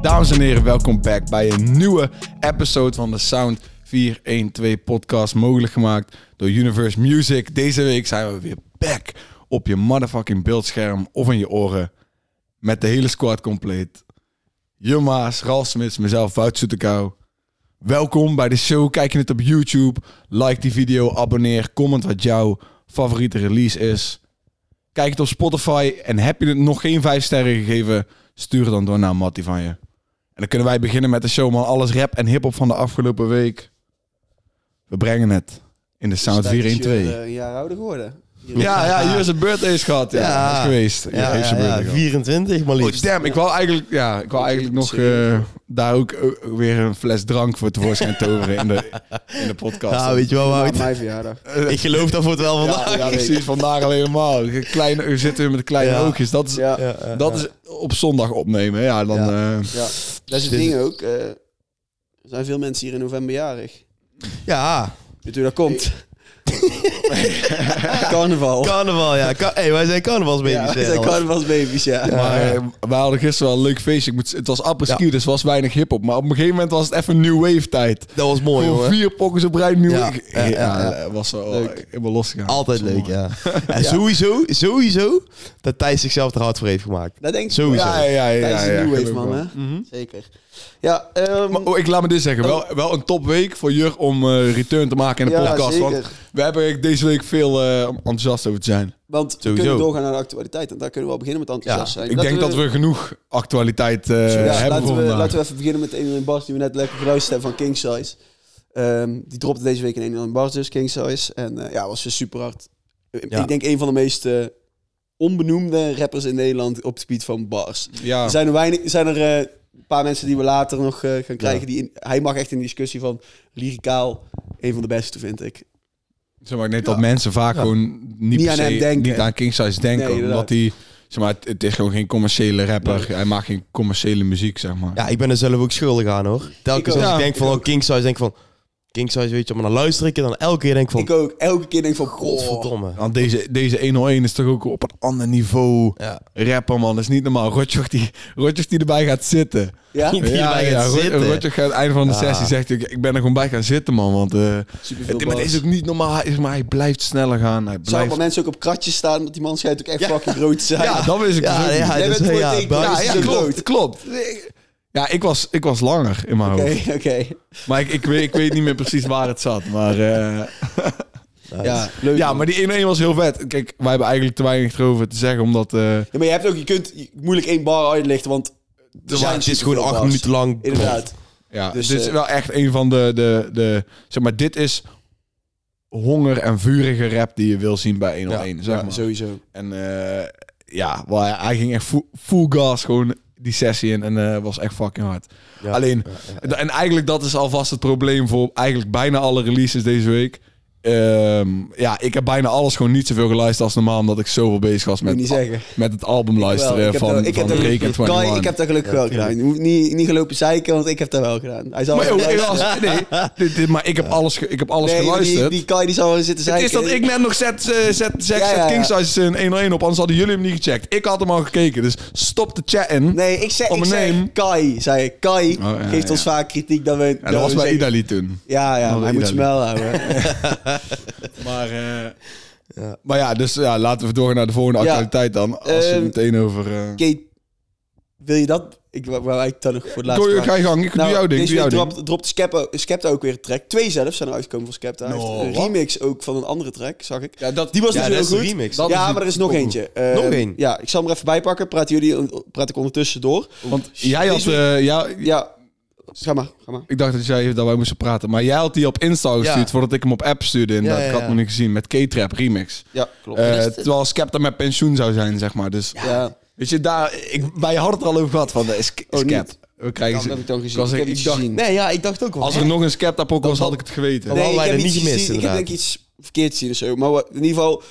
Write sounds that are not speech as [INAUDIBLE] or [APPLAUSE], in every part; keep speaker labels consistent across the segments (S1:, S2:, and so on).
S1: Dames en heren, welkom back bij een nieuwe episode van de Sound 412 podcast. Mogelijk gemaakt door Universe Music. Deze week zijn we weer back op je motherfucking beeldscherm of in je oren. Met de hele squad compleet. Jumma's, Ralf Smits, mezelf, Wout Soetekau. Welkom bij de show. Kijk je het op YouTube? Like die video, abonneer, comment wat jouw favoriete release is. Kijk het op Spotify en heb je het nog geen 5 sterren gegeven, stuur dan door naar Mattie van je. En dan kunnen wij beginnen met de show, man. Alles rap en hip-hop van de afgelopen week. We brengen het in de Sound
S2: Dus dat is
S1: 412.
S2: je, eh, Een jaar ouder geworden.
S1: Ja, ja, hier is een birthday is gehad. Ja,
S3: Ja.
S1: Dat is geweest. Hier
S3: Ja,
S1: heeft ze
S3: ja,
S1: birthday
S3: ja,
S1: gehad.
S3: 24 maar
S1: Oh,
S3: liefst.
S1: damn, ik wou eigenlijk, ja, ik wou eigenlijk nog eh, daar ook eh, weer een fles drank voor tevoorschijn toveren in de, in de podcast.
S3: Ja, weet je wel,
S2: Op
S3: Wout?
S2: mijn verjaardag.
S3: Ik geloof dat voor het wel
S1: ja,
S3: vandaag.
S1: ja, precies, vandaag al helemaal. Kleine, we zitten weer met kleine
S3: Ja.
S1: oogjes. Dat is,
S2: Ja,
S3: Ja, ja,
S1: dat
S3: ja.
S1: is op zondag opnemen. Ja, dan,
S2: Ja.
S1: eh,
S2: ja. Dat is het
S3: Dit-
S2: ding ook. eh, er zijn veel mensen hier in november jarig.
S3: Ja,
S2: Weet u hoe dat komt? [LAUGHS] Carnaval.
S3: carnaval, ja. Ka- hey, [LAUGHS] wij zijn carnavalsbaby's.
S2: Ja,
S3: hè,
S2: we zijn
S3: Ralf.
S2: carnavalsbaby's, ja.
S1: maar eh, we hadden gisteren wel een leuk feestje. Ik moet, het was apres ski, dus was weinig hip-hop. Maar op een gegeven moment was het even new wave tijd.
S3: Dat was mooi,
S1: Gewoon
S3: hoor.
S1: vier pokkers op rij, new
S3: Ja,
S1: wave.
S3: ja, ja,
S1: Ja, was wel
S2: Leuk.
S1: helemaal losgegaan.
S3: Altijd
S1: Dat was
S3: leuk,
S1: mooi.
S3: [LAUGHS] ja. En sowieso, sowieso dat Thijs zichzelf er hard voor heeft gemaakt.
S2: Dat denk ik.
S3: Sowieso.
S1: Ja, ja, ja. ja,
S2: Tijdens de
S1: ja,
S2: New Wave,
S1: gelukkig
S2: man,
S1: wel.
S2: hè? Zeker. Ja, ehm,
S1: Maar, oh, ik laat me dit zeggen. Wel, wel een topweek voor Jur om eh, return te maken in de
S2: Ja,
S1: podcast. Want
S2: zeker.
S1: we hebben er deze week veel eh, om enthousiast over te zijn.
S2: want we
S3: Sowieso.
S2: kunnen doorgaan naar de actualiteit. En daar kunnen we al beginnen met enthousiast zijn.
S1: ik denk dat we genoeg actualiteit eh,
S2: Ja,
S1: hebben
S2: laten,
S1: voor
S2: we,
S1: vandaag.
S2: laten we even beginnen met Emil Bars, die we net lekker geluisterd hebben van King Size. Ehm, die dropte deze week in Emil Bars, dus King Size. En eh, ja, was weer super hard.
S3: Ja.
S2: Ik denk een van de meest eh, onbenoemde rappers in Nederland op het gebied van bars.
S1: Ja.
S2: Er zijn er, weinig, er zijn er eh, een paar mensen die we later nog eh, gaan krijgen. Die in- hij mag echt in de discussie van lyricaal een van de beste, vind ik.
S1: Zeg maar, ik denk dat mensen vaak gewoon niet,
S2: Niet
S1: per
S2: aan
S1: se-
S2: hem denken.
S1: Niet aan King Size denken. omdat
S2: Nee, inderdaad.
S1: hij... Zeg maar, het, het is gewoon geen commerciële rapper. Hij maakt geen commerciële muziek, zeg maar.
S3: Ja, ik ben er zelf ook schuldig aan, hoor. Telkens
S2: ook.
S3: als
S1: Ja,
S3: ik denk van,
S2: ik
S3: oh, King Size, denk ik van... King Size, weet je, maar dan luister ik en dan elke keer denk ik van...
S2: Ik ook. Elke keer denk ik van, godverdomme.
S3: Godverdomme.
S1: Want deze, deze 101 is toch ook op een ander niveau
S3: Ja.
S1: rapper, man. Dat is niet normaal. Rotjoch die, Rotjoch die erbij gaat zitten.
S2: Ja?
S3: Die erbij gaat
S1: Rot-
S3: zitten.
S1: Rotjoch gaat aan het einde van de
S3: Ja.
S1: sessie zegt... Ik, ik ben er gewoon bij gaan zitten, man. Want eh,
S2: Superveel
S1: het, maar het
S2: bars.
S1: is ook niet normaal. Hij, is- maar hij blijft sneller gaan. Hij
S2: Zou
S1: blijft...
S2: wel mensen ook op kratjes staan, want die man schijnt ook echt fucking groot te zijn.
S1: Ja, dat wist ik dus
S3: Ja,
S1: ook niet.
S3: ja,
S2: Jij
S3: dat
S2: bent
S3: is-
S2: voor het
S3: ja,
S2: ik- ja,
S3: buis-
S2: ja.
S1: Ja, klopt.
S2: groot.
S1: klopt. Ja, ik was, ik was langer in mijn
S2: Oké,
S1: hoofd.
S2: [LAUGHS] oké.
S1: Maar ik, ik, weet, ik weet niet meer precies waar het zat. Maar, eh,
S2: Ja, leuk.
S1: ja, maar die 1-1 was heel vet. Kijk, wij hebben eigenlijk te weinig erover te zeggen. Omdat eh,
S2: Ja, maar je hebt ook, je kunt moeilijk één bar uitlichten, want er
S3: Ja,
S2: zijn
S3: het is gewoon
S2: superveel
S3: acht
S2: bars.
S3: minuten lang.
S2: Inderdaad.
S1: ja,
S2: Dus,
S1: dit is
S2: eh,
S1: wel echt een van de, de, de... Zeg maar, dit is honger en vurige rap die je wil zien bij 101. zeg maar.
S2: Sowieso.
S1: En eh, ja, wel, hij- hij ging echt full, full gas gewoon die sessie in. En eh, was echt fucking hard.
S3: Ja.
S1: Alleen, en eigenlijk dat is alvast het probleem voor eigenlijk bijna alle releases deze week. Ehm, ja, ik heb bijna alles gewoon niet zoveel geluisterd als normaal, omdat ik zoveel bezig was
S2: Moet
S1: met,
S2: je niet zeggen.
S1: met het album luisteren
S2: Wel, ik heb
S1: van,
S2: dat- ik
S1: van
S2: heb dat-
S1: Drake en
S2: Kai,
S1: 21.
S2: Ik heb dat gelukkig wel gedaan. Je hoeft niet, niet gelopen zeiken, want ik heb dat wel gedaan. Hij zal
S1: maar,
S2: wel [LAUGHS]
S1: joh, ik
S2: luisteren.
S1: was- nee, dit- dit- maar ik heb alles, ge- ik heb alles
S2: Nee,
S1: geluisterd.
S2: die, die Kai die zal wel zitten
S1: Het
S2: zeiken.
S1: is dat ik net nog zet, eh, zet, zet,
S2: Ja,
S1: zet
S2: ja, ja.
S1: King Size een 101 op, anders hadden jullie hem niet gecheckt. Ik had hem al gekeken, dus stop de chat in.
S2: Nee, ik zeg,
S1: Om
S2: ik
S1: een name.
S2: zeg Kai, zei ik. Kai
S1: Oh, ja,
S2: geeft
S1: ja.
S2: ons vaak kritiek dat we...
S1: Ja, dat was
S2: we
S1: bij
S2: zeggen-
S1: Idali toen.
S2: Ja, ja,
S1: was
S2: maar
S1: bij
S2: hij moet zijn
S1: Idali.
S2: wel houden.
S1: Maar, eh, ja. maar ja, dus ja, laten we doorgaan naar de volgende
S2: Ja.
S1: actualiteit dan. Als je
S2: Ehm,
S1: meteen over... eh,
S2: Kate, wil je dat? Ik wou wou eigenlijk dat nog voor het laatst
S1: Gooi je
S2: vragen.
S1: ga je gang. Ik
S2: Nou,
S1: doe jouw ding.
S2: deze
S1: Doe jouw
S2: week
S1: ding.
S2: dropt, dropt Skepta, Skepta ook weer een track. Twee zelfs zijn er uitgekomen van Skepta. Hij
S1: No,
S2: heeft een
S1: wat?
S2: remix ook van een andere track, zag ik.
S1: Ja, dat,
S2: Die was
S3: Ja,
S2: dus heel
S3: dat is
S2: goed.
S3: een remix.
S1: Dat is
S2: ja,
S1: een-
S2: maar er is nog
S1: ook
S2: eentje. Eh,
S3: Nog één?
S2: Ja, ik zal hem er even bij pakken. Praat jullie, praat ik ondertussen door.
S1: Want jij had...
S2: deze week-
S1: eh, jou-
S2: Ja, ga maar, ga maar.
S1: ik dacht dat, jij, dat wij moesten praten. Maar jij had die op Insta gestuurd
S3: Ja.
S1: voordat ik hem op app stuurde. En
S3: Ja,
S1: dat
S3: ja,
S1: ik had
S3: ja.
S1: hem niet gezien. Met K-Trap remix.
S2: Ja, klopt.
S1: Eh, terwijl Skepta met pensioen zou zijn, zeg maar. Dus
S2: ja.
S1: weet je, daar, ik, wij hadden het er al over gehad. Van, eh, Sk-
S2: Oh, niet.
S1: Skep. We krijgen
S2: Dat heb ik dan gezien.
S1: was
S2: Ik
S1: echt-
S2: heb het
S1: dacht,
S2: gezien.
S3: Nee, ja, ik dacht ook wel.
S1: Als er nog een Skepta pok was, had ik het geweten.
S3: hadden wij
S2: ik heb
S3: dat
S2: iets
S3: niet gemist,
S2: gezien. Ik heb denk
S3: inderdaad.
S2: ik iets verkeerd zien of zo. Maar wa- in ieder geval,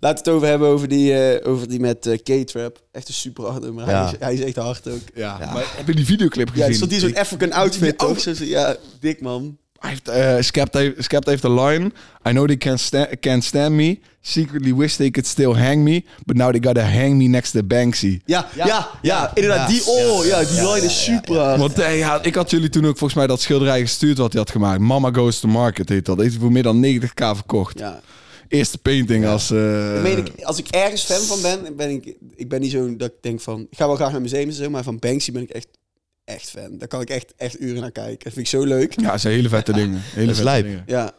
S2: laat het over hebben over die, eh, over die met eh, K-Trap. Echt een super hard nummer. Hij,
S3: Ja.
S2: is, hij is echt hard ook.
S1: Ja, maar heb je die videoclip gezien?
S2: Ja, er stond die zo'n
S1: Ik-
S2: African outfit,
S1: Die
S2: toch? Zo- zo- Ja, dik man.
S1: Hij heeft, eh, Skepta, heeft, Skepta heeft de line. I know they can't, sta- can't stand me. Secretly wish they could still hang me. But now they gotta hang me next to Banksy.
S2: Ja, ja, ja, inderdaad.
S3: Ja.
S2: Die, oh, ja, die line is super. hard.
S1: Want eh, ja, ik had jullie toen ook volgens mij dat schilderij gestuurd wat hij had gemaakt. Mama Goes to Market heet dat. Heeft hij voor meer dan 90k verkocht.
S2: Ja.
S1: Eerste painting als... eh,
S2: Ik meen ik, als ik ergens fan van ben, ben ik, ik ben niet zo dat ik denk van, ik ga wel graag naar museums en zo, maar van Banksy ben ik echt, echt fan. Daar kan ik echt, echt uren naar kijken. Dat vind ik zo leuk.
S1: Ja, het zijn hele vette dingen. Hele
S3: is
S1: vette
S3: lijp.
S1: dingen.
S2: Ja,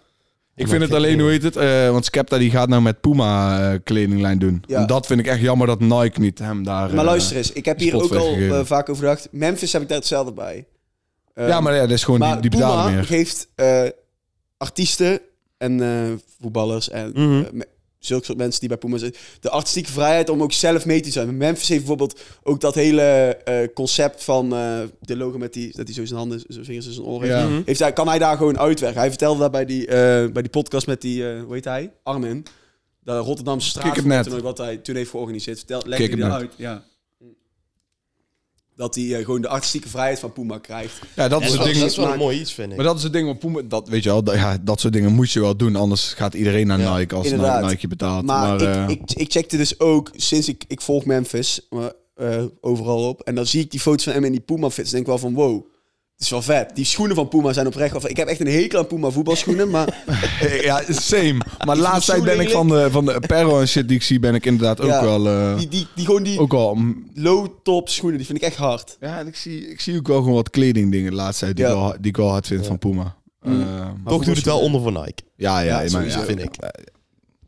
S1: Ik vind het alleen, hoe heet het? eh, want Skepta die gaat nou met Puma eh, kledinglijn doen.
S2: Ja.
S1: En dat vind ik echt jammer dat Nike niet hem daar...
S2: maar
S1: eh,
S2: luister eens, ik heb hier ook
S1: spotvet
S2: al
S1: gegeven.
S2: eh, vaak over gedacht. Memphis heb ik daar hetzelfde bij. Eh,
S1: ja, maar ja, dat is gewoon die,
S2: maar
S1: die
S2: Puma
S1: betalen meer.
S2: geeft eh, artiesten en eh, voetballers en
S3: Mhm.
S2: eh, me- zulke soort mensen die bij Puma zitten, de artistieke vrijheid om ook zelf mee te zijn. Memphis heeft bijvoorbeeld ook dat hele eh, concept van eh, de logo met die, dat hij zo zijn handen, zijn vingers in zijn oren heeft.
S1: Ja.
S3: Mhm.
S2: Heeft hij, kan hij daar gewoon uitwerken? Hij vertelde dat bij die, eh, bij die podcast met die, eh hoe heet hij? Armin. De Rotterdamse straat.
S1: Kick It Net.
S2: Wat hij toen heeft georganiseerd. Vertel,
S1: Kick
S2: leg
S1: It
S2: hij
S1: Net.
S2: uit. Ja. Dat hij eh, gewoon de artistieke vrijheid van Puma krijgt.
S1: Ja, dat
S3: Dat
S1: is
S3: is
S1: het
S3: wel-
S1: ding.
S3: dat is wel een
S2: maar-
S3: mooi iets, vind ik.
S1: Maar dat is het ding wat Puma... Dat, weet je wel, dat, ja, dat soort dingen moet je wel doen. Anders gaat iedereen naar
S3: Ja,
S1: Nike als
S2: inderdaad.
S1: Nike je betaalt.
S2: Maar,
S1: Maar, eh,
S2: ik, ik, ik checkte dus ook, sinds ik, ik volg Memphis maar, eh, overal op. En dan zie ik die foto's van hem in die Puma fits. denk ik wel van wow. Het is wel vet. Die schoenen van Puma zijn oprecht. wel vet. Ik heb echt een hekel aan Puma
S1: [LAUGHS]
S2: voetbalschoenen. Maar
S1: eh, Ja, same. Maar laatst tijd
S2: zo
S1: ben ik
S2: lelijk.
S1: van de, van de apparel en shit die ik zie, ben ik inderdaad ook
S2: Ja,
S1: wel... eh,
S2: die, die, die, gewoon die
S1: ook wel... mm,
S2: low-top schoenen, die vind ik echt hard.
S1: Ja, en ik zie, ik zie ook wel gewoon wat kledingdingen de laatste tijd die,
S2: Ja. Mm.
S1: ik wel, die ik wel hard vind van Puma. Eh,
S3: Toch doet het wel onder voor Nike,
S1: ja, ja,
S2: Ja,
S1: maar,
S2: sowieso.
S1: ja,
S3: vind ik.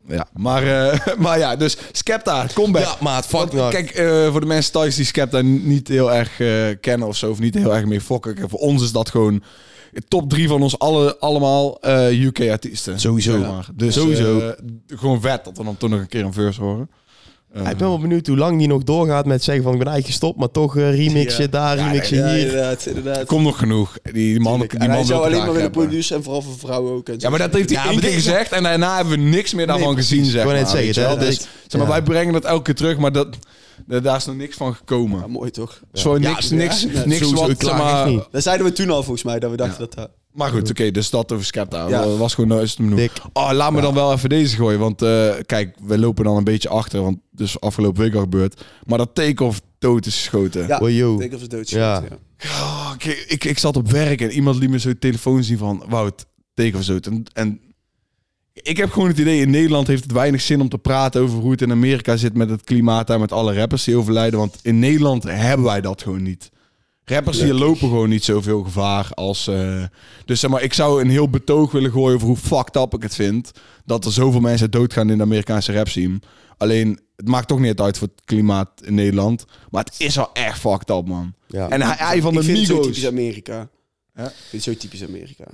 S1: ja. Maar, eh, [LAUGHS] maar ja, dus Skepta, comeback.
S3: Ja, maat, fuck
S1: Want
S3: Nike.
S1: Kijk, eh, voor de mensen thuis die Skepta niet heel erg eh, kennen of zo, of niet heel erg mee fokken. Kijk, Voor ons is dat gewoon top drie van ons alle, allemaal eh, UK-artiesten.
S3: Sowieso.
S1: Dus
S3: Sowieso.
S1: eh, gewoon vet dat we dan toch nog een keer een verse horen. Eh,
S3: Ja, ik ben wel benieuwd hoe lang die nog doorgaat met zeggen van ik ben eigenlijk gestopt, maar toch eh, remixje
S2: Ja.
S3: daar, remixje
S2: Ja,
S3: hier.
S2: inderdaad, inderdaad.
S1: Komt nog genoeg. Die man, die
S2: en
S1: man
S2: hij
S1: wil
S2: zou alleen
S1: graag
S2: maar willen
S1: hebben.
S2: produceren en vooral voor vrouwen ook. En zo.
S1: Ja, maar dat heeft hij
S3: Ja,
S1: één
S3: maar
S1: keer
S3: dit is-
S1: gezegd en daarna hebben we niks meer daarvan
S3: Nee,
S1: gezien, zeg
S3: Ik
S1: maar.
S3: wou net zeggen,
S1: weet je wel.
S3: dat-
S1: Dus,
S3: dat-
S1: zeg maar
S3: ja.
S1: wij brengen dat elke keer terug, maar dat, da- daar is nog niks van gekomen.
S2: Ja, mooi toch?
S1: Het is gewoon
S3: Ja,
S1: niks,
S3: ja,
S1: niks,
S3: ja,
S1: niks
S3: sowieso,
S1: wat,
S3: ik klaag
S1: zeg
S3: echt
S1: maar...
S3: niet.
S2: Dat zeiden we toen al volgens mij, dat we dachten dat dat... eh,
S1: Maar goed, oké, dus dat over Skepta.
S2: Ja.
S1: Dat was gewoon nou, is het hem genoeg.
S3: Dik.
S1: Oh, laat me dan wel even deze gooien, want eh, kijk, we lopen dan een beetje achter, want dus afgelopen week al gebeurd. Maar dat take-off dood is geschoten.
S2: Ja,
S3: Oh, yo.
S2: ik denk dat ze doodschieten.
S3: Ja.
S2: Ja.
S1: Oh, ik, ik, ik zat op werk en iemand liet me zo telefoon zien van Wout, teken of zo. En, en ik heb gewoon het idee, in Nederland heeft het weinig zin om te praten over hoe het in Amerika zit met het klimaat daar, met alle rappers die overlijden. Want in Nederland hebben wij dat gewoon niet. Rappers hier lopen gewoon niet zoveel gevaar als. eh, dus zeg maar, ik zou een heel betoog willen gooien over hoe fucked up ik het vind. Dat er zoveel mensen doodgaan in de Amerikaanse rap scene. Alleen, het maakt toch niet uit voor het klimaat in Nederland. Maar het is wel echt fucked up, man.
S3: Ja.
S1: En hij, hij van de
S2: ik vind het zo
S1: Migos.
S2: typisch Amerika.
S1: Ja.
S2: Ik vind het zo typisch Amerika.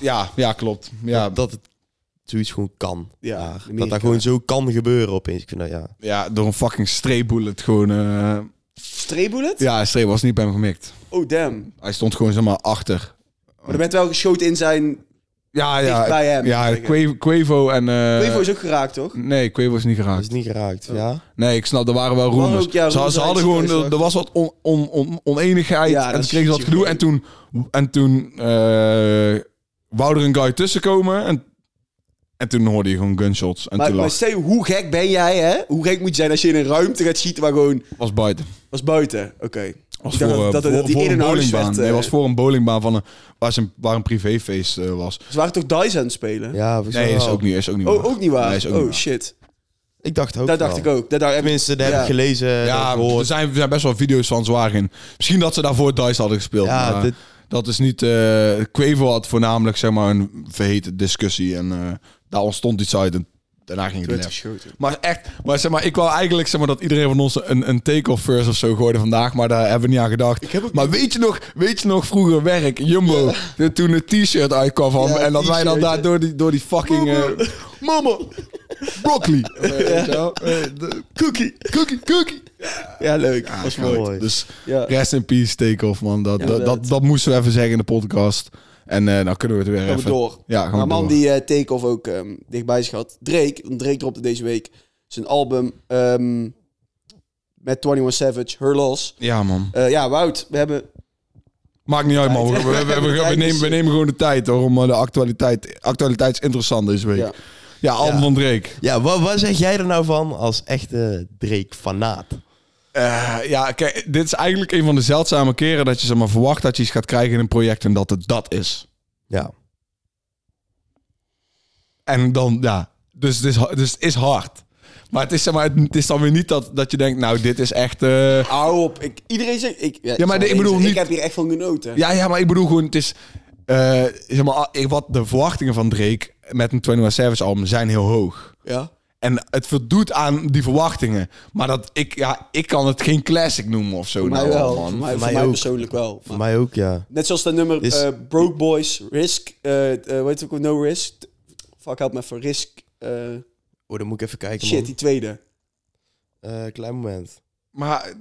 S1: Ja, ja, klopt. Ja,
S3: Dat het zoiets gewoon kan.
S2: Ja,
S1: Ah,
S3: Daar.
S2: Amerika.
S3: dat dat gewoon zo kan gebeuren opeens. Ik vind dat, ja.
S1: ja door een fucking streepbullet gewoon... eh
S2: Streebullet?
S1: ja, een streep was niet bij hem gemikt.
S2: Oh, damn.
S1: Hij stond gewoon zeg maar achter.
S2: Maar er werd wel geschoten in zijn...
S1: Eh, Ja, ja.
S2: Dicht bij hem,
S1: Ja,
S2: zeker.
S1: Quavo, Quavo en... eh,
S2: Quavo is ook geraakt, toch?
S1: Nee, Quavo is niet
S3: Dat
S1: geraakt.
S3: is niet geraakt. Ja.
S1: Nee, ik snap, er waren wel
S2: waren
S1: roemers.
S2: ook, ja,
S1: ze,
S2: roemers
S1: ze
S2: uit
S1: hadden
S2: het
S1: gewoon, er,
S2: ziekenhuis,
S1: er was wat on, on, on, oneenigheid
S2: Ja,
S1: en
S2: dat
S1: ze kregen wat
S2: schiet je
S1: gedoe. En toen, en toen eh, wou er een guy tussenkomen en, en toen hoorde je gewoon gunshots. En
S2: Maar,
S1: toen
S2: maar
S1: lag,
S2: stel je, hoe gek ben jij, hè? Hoe gek moet je zijn als je in een ruimte gaat schieten waar gewoon...
S1: was Biden.
S2: was buiten. Oké.
S1: Was
S2: Ik dacht
S1: voor,
S2: dat- dat-
S1: eh,
S2: dat
S1: voor-
S2: die
S1: voor
S2: in
S1: een
S2: een huis
S1: bowlingbaan.
S2: werd,
S1: Nee,
S2: eh,
S1: was voor een bowlingbaan van een, waar, ze, waar een privéfeest eh, was.
S2: Ze waren toch Dyson aan het spelen?
S3: Ja, volgens mij
S1: Nee, is
S3: wel.
S1: ook niet, is ook niet
S2: Oh,
S1: waar.
S2: ook niet waar?
S1: Nee, is ook
S2: oh,
S1: niet waar.
S2: shit.
S3: Ik dacht ook
S2: Dat dacht
S3: wel.
S2: ik ook. Dat daar
S3: Tenminste, daar heb
S2: Ja.
S3: ik gelezen.
S1: Ja, dus-
S3: Ja,
S1: er
S3: gehoord.
S1: zijn, er zijn best wel video's van zwaar in. Misschien dat ze daarvoor DICE hadden gespeeld.
S3: Ja,
S1: maar
S3: dit-
S1: Dat is niet... eh Quavo had voornamelijk zeg maar, een verheten discussie. En eh, daar ontstond iets uit. En daarna ging het
S2: werd
S1: lef.
S2: geschoten.
S1: Maar echt, maar zeg maar, ik wou eigenlijk zeg maar dat iedereen van ons een, een take-off verse of zo gooide vandaag, maar daar hebben we niet aan gedacht. maar weet je nog, weet je nog vroeger werk, Jumbo, de- toen het t-shirt uitkwam van
S2: Ja,
S1: en dat wij dan
S2: t-shirt,
S1: daar
S2: ja.
S1: door die, door die fucking eh,
S2: Mama!
S1: broccoli, Eh, weet je wel? Eh, de-
S2: Cookie!
S1: cookie, cookie.
S2: Ja, leuk. was
S3: ja,
S2: mooi.
S3: mooi.
S1: Dus
S2: Ja.
S1: rest in peace take-off man, dat, dat, dat,
S2: inderdaad.
S1: dat moesten we even zeggen in de podcast. En eh nou kunnen we het weer
S2: Gaan we
S1: even
S2: door.
S1: Ja, gaan we
S2: maar een man
S1: door.
S2: die eh, Take-Off ook ehm, dichtbij is gehad. Drake, want Drake dropte deze week zijn album ehm, met 21 Savage, Her Loss.
S1: Ja man.
S2: Eh, ja, Wout, we hebben
S1: Maakt niet uit, man. We, we, we- we- we nemen, we nemen gewoon de tijd hoor, om eh, de actualiteit. Actualiteit is interessant deze week. Ja,
S2: Ja.
S1: Alm
S3: Ja.
S1: van Dreek.
S3: Ja, wat, wat zeg jij er nou van als echte Drake-fanaat?
S1: Eh, ja, kijk, dit is eigenlijk een van de zeldzame keren dat je zeg maar, verwacht dat je iets gaat krijgen in een project en dat het dat is.
S3: Ja.
S1: En dan, ja. Dus het is, ha- dus het is hard. Maar het is, zeg maar, het- het is dan weer niet dat, dat je denkt, nou, dit is echt... eh,
S2: Hou op. Ik, iedereen zegt... Ik,
S1: maar
S2: ja, zal
S1: ik
S2: wel
S1: bedoel
S2: eens-
S1: niet-
S2: Ik heb hier echt van genoten.
S1: Ja, ja, maar ik bedoel gewoon, het is... eh, zeg maar, ah, ik- wat de verwachtingen van Drake met een 21 Savage album zijn heel hoog.
S2: Ja.
S1: En het voldoet aan die verwachtingen. Maar dat ik, ja, ik kan het geen classic noemen of zo.
S2: Voor mij
S1: nou,
S2: wel.
S1: man.
S2: Voor mij, voor
S3: mij
S2: mij
S3: ook.
S2: persoonlijk wel.
S3: Voor mij ook, ja.
S2: Net zoals dat nummer
S3: Is-
S2: eh, Broke Boys, Risk, eh, weet je ook, No Risk. Fuck, help me voor Risk. eh,
S3: Oh, dan moet ik even kijken,
S2: shit, die tweede.
S3: man. Eh, klein moment.
S1: Maar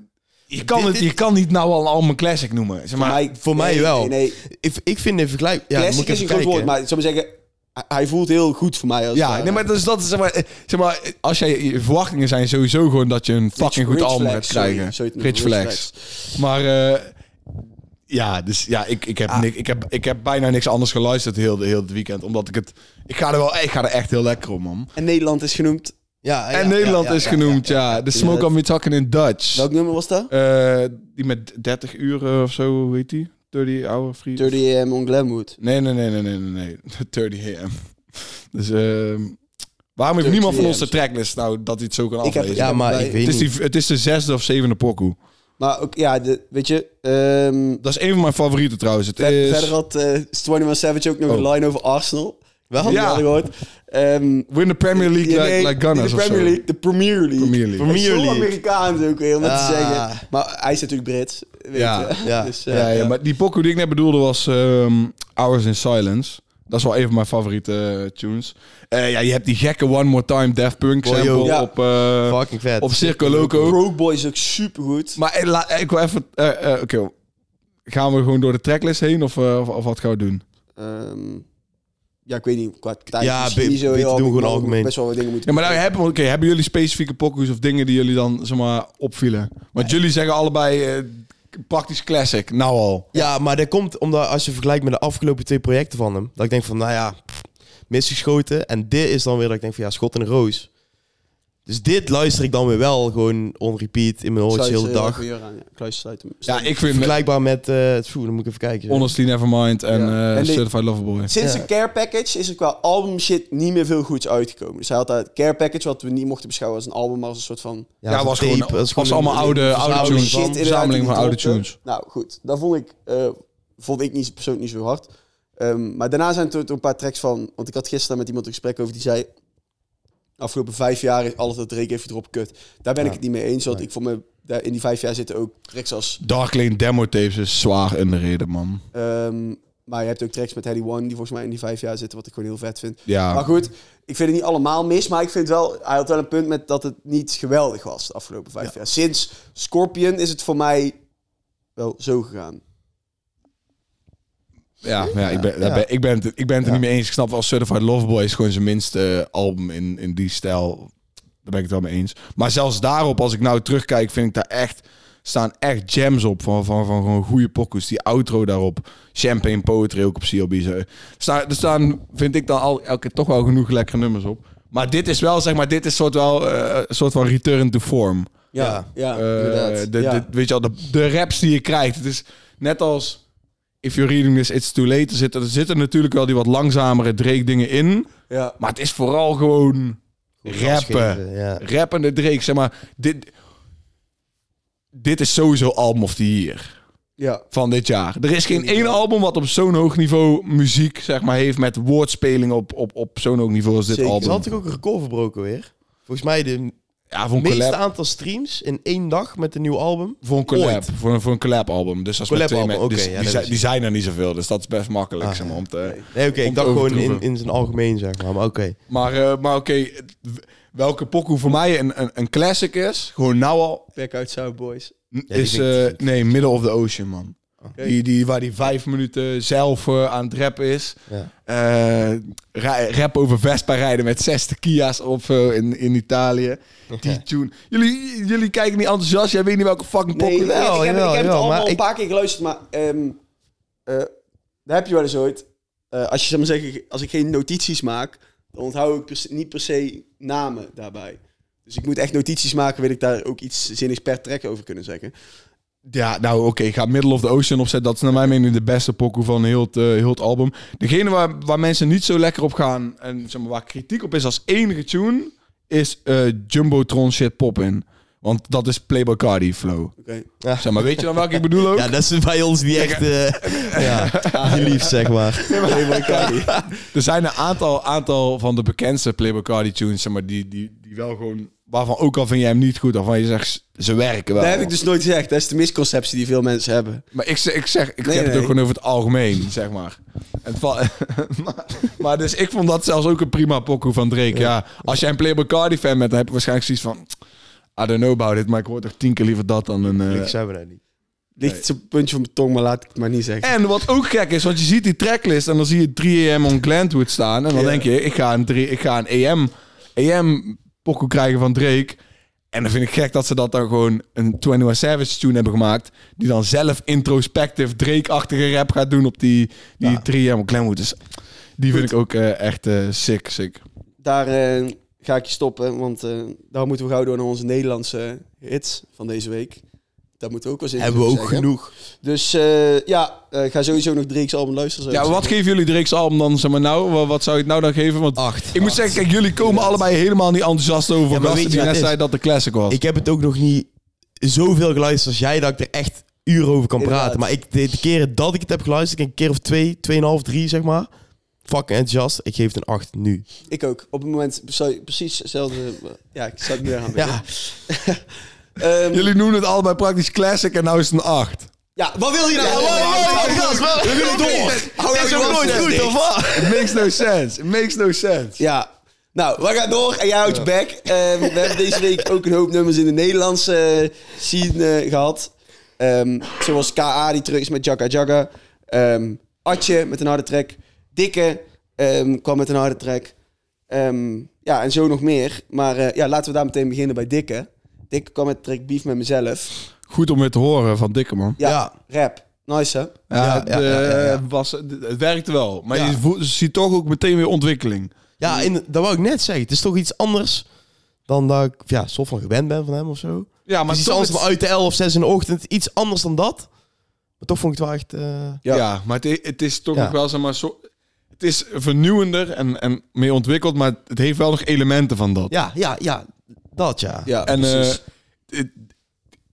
S1: je kan,
S3: Dit-
S1: het, je kan niet nou al een album classic noemen. Zeg maar,
S3: voor mij
S2: nee,
S3: wel.
S2: Nee, nee.
S3: Ik, ik vind in vergelijking... Ja, dan moet
S2: Classic
S3: ik
S2: is
S3: even
S2: een groot
S3: kijken.
S2: woord, maar ik zou maar zeggen, hij- hij voelt heel goed voor mij. Als het
S1: ja,
S2: ware.
S1: nee, maar dus dat is zeg maar, eh, zeg maar, eh, als jij je verwachtingen zijn sowieso gewoon dat je een fucking goed
S2: Rich
S1: album
S2: Flex,
S1: gaat
S2: sorry,
S1: krijgen.
S2: zo heet het
S1: Rich
S2: nummer, Rich
S1: Flex. Maar eh, ja, dus ja, ik, ik, heb nik- ik, heb, ik heb bijna niks anders geluisterd heel, heel het weekend, omdat ik het, ik ga er wel, ik ga er echt heel lekker om, man.
S2: En Nederland is genoemd.
S3: Ja, ja,
S1: en
S3: ja,
S1: Nederland
S3: ja,
S1: is
S3: ja,
S1: genoemd, ja, The Smoke on
S2: Inderdaad.
S1: Me Talking in Dutch.
S2: Welk nummer was dat?
S1: Eh, die met 30 uur eh, of zo, hoe heet die? 30 hour free.
S2: Dirty AM on Glenwood.
S1: Nee, nee, nee, nee, nee, nee, nee. [LAUGHS] 30 AM. Dus ehm, waarom heeft
S2: 30
S1: niemand van ons de
S2: AM's.
S1: tracklist nou dat hij het zo kan
S2: Ik heb-
S1: aflezen?
S3: Ja, maar ik
S1: het,
S3: weet
S1: is
S3: niet.
S1: die, het is de zesde of zevende pokoe.
S2: Maar ook, ja, de, weet je... ehm,
S1: Dat is een van mijn favorieten trouwens. Het
S2: ver-
S1: is...
S2: Verder had eh 21 Savage ook nog een
S1: Oh.
S2: line over Arsenal.
S3: Wel?
S2: Die hadden we gehoord. Ehm,
S1: Win the Premier League
S2: Ja,
S1: like,
S2: nee,
S1: like Gunners
S2: De
S1: of
S2: Premier
S1: zo.
S2: League, de Premier League.
S1: Premier League.
S2: Het is
S3: Premier
S2: Zo
S3: League.
S2: Amerikaans ook weer, om dat te
S3: Ah.
S2: zeggen. Maar hij is natuurlijk Brits. Weet
S1: Ja,
S2: je.
S3: ja,
S2: [LAUGHS] Dus, eh,
S1: Ja, ja, maar die pokoe die ik net bedoelde was ehm, Hours in Silence. Dat is wel een van mijn favoriete eh, tunes. Eh, ja, je hebt die gekke One More Time Daft Punk
S3: Oh, joh.
S1: sample
S2: Ja.
S1: op, eh
S3: Fucking vet.
S1: op Circo Loco.
S2: Broke Boy is ook supergoed.
S1: Maar eh, la- ik wil even... eh, eh, Oké, gaan we gewoon door de tracklist heen of, eh, of, of wat gaan we doen?
S2: Ehm, ja, ik weet niet, qua tijd
S3: Ja,
S2: misschien
S3: be-
S2: niet zo
S3: beter
S2: heel
S3: doen we
S2: handig,
S3: gewoon
S2: maar we
S3: algemeen.
S2: Best wel wat dingen
S1: Ja,
S2: moeten
S1: maar nou, hebben, oké, hebben jullie specifieke pokoes of dingen die jullie dan zeg maar, opvielen? Want jullie zeggen allebei eh, praktisch classic, nou al.
S3: Ja, maar dat komt omdat als je vergelijkt met de afgelopen twee projecten van hem, dat ik denk van, nou ja, pff, misgeschoten. En dit is dan weer dat ik denk van, ja, schot in de roos. Dus dit luister ik dan weer wel gewoon on repeat in mijn oortjes de hele dag.
S2: Kluis sluiten.
S1: Ja, ik vind
S3: Vergelijkbaar met, eh het voer, dan moet ik even kijken.
S1: Honestly Nevermind en
S2: Ja.
S1: eh,
S2: En die-
S1: Certified Lover Boy.
S2: Sinds
S3: Ja.
S2: de Care Package is er qua album shit niet meer veel goeds uitgekomen. Dus hij had dat Care Package, wat we niet mochten beschouwen als een album, maar als een soort van...
S1: Ja, was gewoon,
S3: dat is
S1: was
S3: gewoon
S1: allemaal
S3: een-
S1: oude, oude
S3: verzameling
S1: tunes.
S3: van-
S1: Een verzameling
S2: die
S1: van oude
S2: dropte.
S1: tunes.
S2: Nou goed, dat vond ik, eh, vond ik niet, persoonlijk niet zo hard. Ehm, maar daarna zijn er toch een paar tracks van... Want ik had gisteren met iemand een gesprek over die zei... Afgelopen vijf jaar is alles dat Drake heeft gedropt kut. Daar ben ik het niet mee eens. Want ik vond me... Daar, in die vijf jaar zitten ook tracks als...
S1: Dark Lane demo tapes is zwaar in de reden, man.
S2: ehm, maar je hebt ook tracks met Heady One die volgens mij in die vijf jaar zitten. Wat ik gewoon heel vet vind.
S1: Ja.
S2: Maar goed, ik vind het niet allemaal mis. Maar ik vind wel... Hij had wel een punt met dat het niet geweldig was de afgelopen vijf jaar. Sinds Scorpion is het voor mij wel zo gegaan.
S1: Ja, ja, ik, ben, daar
S3: Ja.
S1: ben- ik ben het, ik ben het er niet mee eens. Ik snap wel, Certified Loveboy is gewoon zijn minste eh, album in, in die stijl. Daar ben ik het wel mee eens. Maar zelfs daarop, als ik nou terugkijk, vind ik daar echt... staan echt jams op van, van, van gewoon goede pokkers. Die outro daarop. Champagne Poetry ook op CLB. zo. Sta, er staan, vind ik dan al elke keer toch wel genoeg lekkere nummers op. Maar dit is wel, zeg maar, dit is soort wel eh, soort van return to form.
S3: Ja.
S1: Eh,
S2: ja, inderdaad.
S1: de,
S2: ja.
S1: de- weet je al, de, de raps die je krijgt. Het is net als If You're Reading This, It's Too Late. Er zitten, er zitten natuurlijk wel die wat langzamere Drake dingen in.
S2: Ja.
S1: Maar het is vooral gewoon
S3: gas
S1: rappen.
S3: geven, ja.
S1: Rappende Drake, zeg maar. Dit, dit is sowieso album of the year
S2: ja.
S1: van dit jaar. Er is geen één album wat op zo'n hoog niveau muziek zeg maar, heeft... met woordspeling op, op, op zo'n hoog niveau als dit
S2: Zeker.
S3: Ze
S1: album.
S3: had ik ook een record verbroken weer. Volgens mij de
S1: Ja, voor een
S3: meeste
S1: collab,
S3: aantal streams in één dag met een nieuw album.
S1: voor een collab,
S3: ooit.
S1: voor een, voor een collab album. Dus als
S3: Collab
S1: met twee
S3: album,
S1: men-
S3: oké,
S1: dus
S3: ja,
S1: die,
S3: dat
S1: zijn,
S3: is-
S1: die zijn er niet zoveel, dus dat is best makkelijk
S3: Ah,
S1: zeg maar, om te...
S3: Nee, oké,
S1: Om te
S3: ik dacht gewoon in,
S1: overtroeven.
S3: in zijn algemeen, zeg maar. Maar oké.
S1: Maar, eh, maar oké, het- welke pokoe voor mij een, een, een classic is, gewoon nou al,
S2: Back Out South Boys.
S3: die
S1: is...
S3: vind ik
S1: eh,
S3: niet.
S1: nee, Middle of the Ocean, man.
S2: Oké.
S1: Die, die, waar die vijf minuten zelf eh, aan het rappen is.
S3: Ja.
S1: Eh, ra- rap over Vespa rijden met 60 Kia's of zo in, in Italië. Die tune. Jullie, jullie kijken niet enthousiast, jij weet niet welke fucking
S2: Nee,
S1: pokoe...
S2: ik, ik heb, ik
S3: jawel,
S2: heb het
S3: jawel,
S2: allemaal
S3: maar
S2: een
S3: ik-
S2: paar keer geluisterd, maar ehm, eh, daar heb je wel eens ooit. eh, als je zeg maar zeggen, als ik geen notities maak, dan onthoud ik per se- niet per se namen daarbij. Dus ik moet echt notities maken, wil ik daar ook iets zinnigs per track over kunnen zeggen.
S1: Ja, nou oké, ik ga Middle of the Ocean opzetten. Dat is naar mijn mening de beste pokoe van heel het, eh, heel het album. Degene waar, waar mensen niet zo lekker op gaan en zeg maar, waar kritiek op is als enige tune, is eh, Jumbotron Shit Poppin. Want dat is Playboy Cardi flow.
S2: Oké.
S1: Zeg maar, weet je dan welke ik bedoel ook?
S3: Ja, dat is bij ons niet
S1: [LAUGHS]
S3: echt eh, ja, geliefd, zeg maar.
S2: Playboy Cardi.
S1: Er zijn een aantal, aantal van de bekendste Playboy Cardi tunes, zeg maar, die, die, die wel gewoon... Waarvan ook al vind jij hem niet goed, of van je zegt, ze werken wel.
S2: Dat heb ik dus nooit gezegd. Dat is de misconceptie die veel mensen hebben.
S1: Maar ik, zeg- ik zeg, ik
S2: Nee,
S1: heb het
S2: nee.
S1: ook gewoon over het algemeen, zeg maar. En het val- [LAUGHS] maar, maar dus ik vond dat zelfs ook een prima pokoe van Drake. Ja. Als jij een Playboy Cardi fan bent, dan heb je waarschijnlijk zoiets van... I don't know about it, maar ik hoor toch tien keer liever dat dan een... eh.
S3: Ik zei we dat niet.
S2: Ligt het op het puntje van mijn tong, maar laat ik het maar niet zeggen.
S1: En wat ook gek is, want je ziet die tracklist en dan zie je 3 AM on Glenwood staan. En dan
S2: Ja.
S1: denk je, ik ga een, 3, ik ga een AM, AM pokoe krijgen van Drake. En dan vind ik gek dat ze dat dan gewoon een 21 Savage tune hebben gemaakt. Die dan zelf introspective Drake-achtige rap gaat doen op die, die 3 AM on Glenwood. Dus die vind ik ook eh, echt eh, sick, sick.
S2: Daar eh, ga ik je stoppen, want eh, daar moeten we gauw door naar onze Nederlandse hits van deze week. Daar moeten we ook wel zin in
S3: Hebben we
S2: zullen
S3: ook
S2: zeggen.
S3: genoeg.
S2: Dus eh, ja, eh, ga sowieso nog Drake's album luisteren. zou ik
S1: Ja,
S2: zeggen.
S1: wat geven jullie Drake's album dan? Zeg maar nou, Wa- wat zou je het nou dan geven? Want
S3: Acht.
S1: ik moet zeggen, kijk, jullie komen allebei helemaal niet enthousiast over
S3: ah, maar weet
S1: gasten
S3: je
S1: die
S3: wat
S1: net
S3: het is?
S1: zei dat de classic was.
S3: Ik heb het ook nog niet zoveel geluisterd als jij, dat ik er echt uren over kan
S2: Inderdaad.
S3: praten. Maar ik, de, de keren dat ik het heb geluisterd, ik een keer of twee, tweeënhalf, drie, zeg maar. Fucking enthousiast. Ik geef het een acht nu.
S2: Ik ook. Op het moment zou- precies hetzelfde... Ja, ik zou het niet aan
S3: Ja,
S2: Ehm,
S1: Jullie noemen het allebei praktisch classic en nou is het een 8.
S2: ja, wat wil je nou? Hou
S3: wow,
S2: nou
S3: wow,
S2: je mond,
S3: gast, wat-
S2: Hou nou
S3: wat-
S2: je mond.
S3: wat-
S2: Hou nou
S3: is
S2: je
S3: ook
S2: mond,
S3: nooit
S2: zeg,
S3: goed,
S2: Dick.
S3: of wat?
S1: It makes no sense. It makes no sense.
S2: Ja. Nou, we gaan door en jij houdt je back. we hebben deze week ook een hoop nummers in de Nederlandse eh, scene eh, gehad. Ehm, zoals K.A. die terug is met Jagga Jagga. Ehm, Atje met een harde track. Dikke ehm, kwam met een harde track. Ehm, ja, en zo nog meer. Maar eh, ja, laten we daar meteen beginnen bij Dikke. Dikke kwam met de track Beef met mezelf.
S1: Goed om weer te horen van Dikke, man.
S2: Ja,
S3: Ja.
S2: rap. Nice hè?
S1: Ja,
S3: Ja,
S1: de-
S3: ja, ja, ja, ja.
S1: Was, de- het werkte wel. Maar
S3: Ja.
S1: je voelt- je ziet toch ook meteen weer ontwikkeling.
S3: ja en dat wou ik net zeggen. Het is toch iets anders dan dat ik ja, soort van gewend ben van hem of zo.
S1: Ja,
S3: Maar het is iets anders dan uit de 11 of 6 in de ochtend. Iets anders dan dat. Maar toch vond ik het wel echt... eh,
S1: ja.
S2: Ja.
S1: maar het, het is toch
S3: Ja.
S1: nog wel zeg maar zo... Het is vernieuwender en, en meer ontwikkeld, maar het heeft wel nog elementen van dat.
S3: ja, ja, ja. Dat ja.
S2: Ja,
S1: en eh,
S2: precies.
S1: het,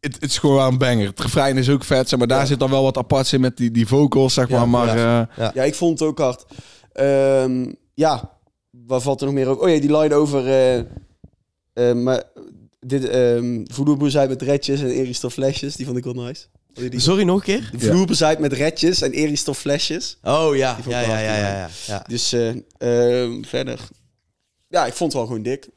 S1: het, het is gewoon wel een banger. Het refrein is ook vet, zeg maar daar
S2: Ja.
S1: zit dan wel wat apart in met die, die vocals, zeg maar.
S3: Ja,
S1: maar
S3: ja.
S1: eh,
S2: Ja, ik vond het ook hard. Ehm, ja, waar valt er nog meer over? Oh ja, die line over... eh, eh, maar dit, ehm vloerbezijt met redjes en Eristor flesjes, die vond ik wel nice. Had je die?
S3: Sorry, nog een keer?
S1: Ja.
S2: Vloerbezaaid met redjes en Eristor flesjes.
S3: Oh ja.
S2: vond ik
S3: Ja,
S2: wel
S3: ja, ja,
S2: hard,
S3: ja,
S2: ja.
S3: ja, ja.
S2: Dus eh, ehm, verder. Ja, ik vond het wel gewoon dik.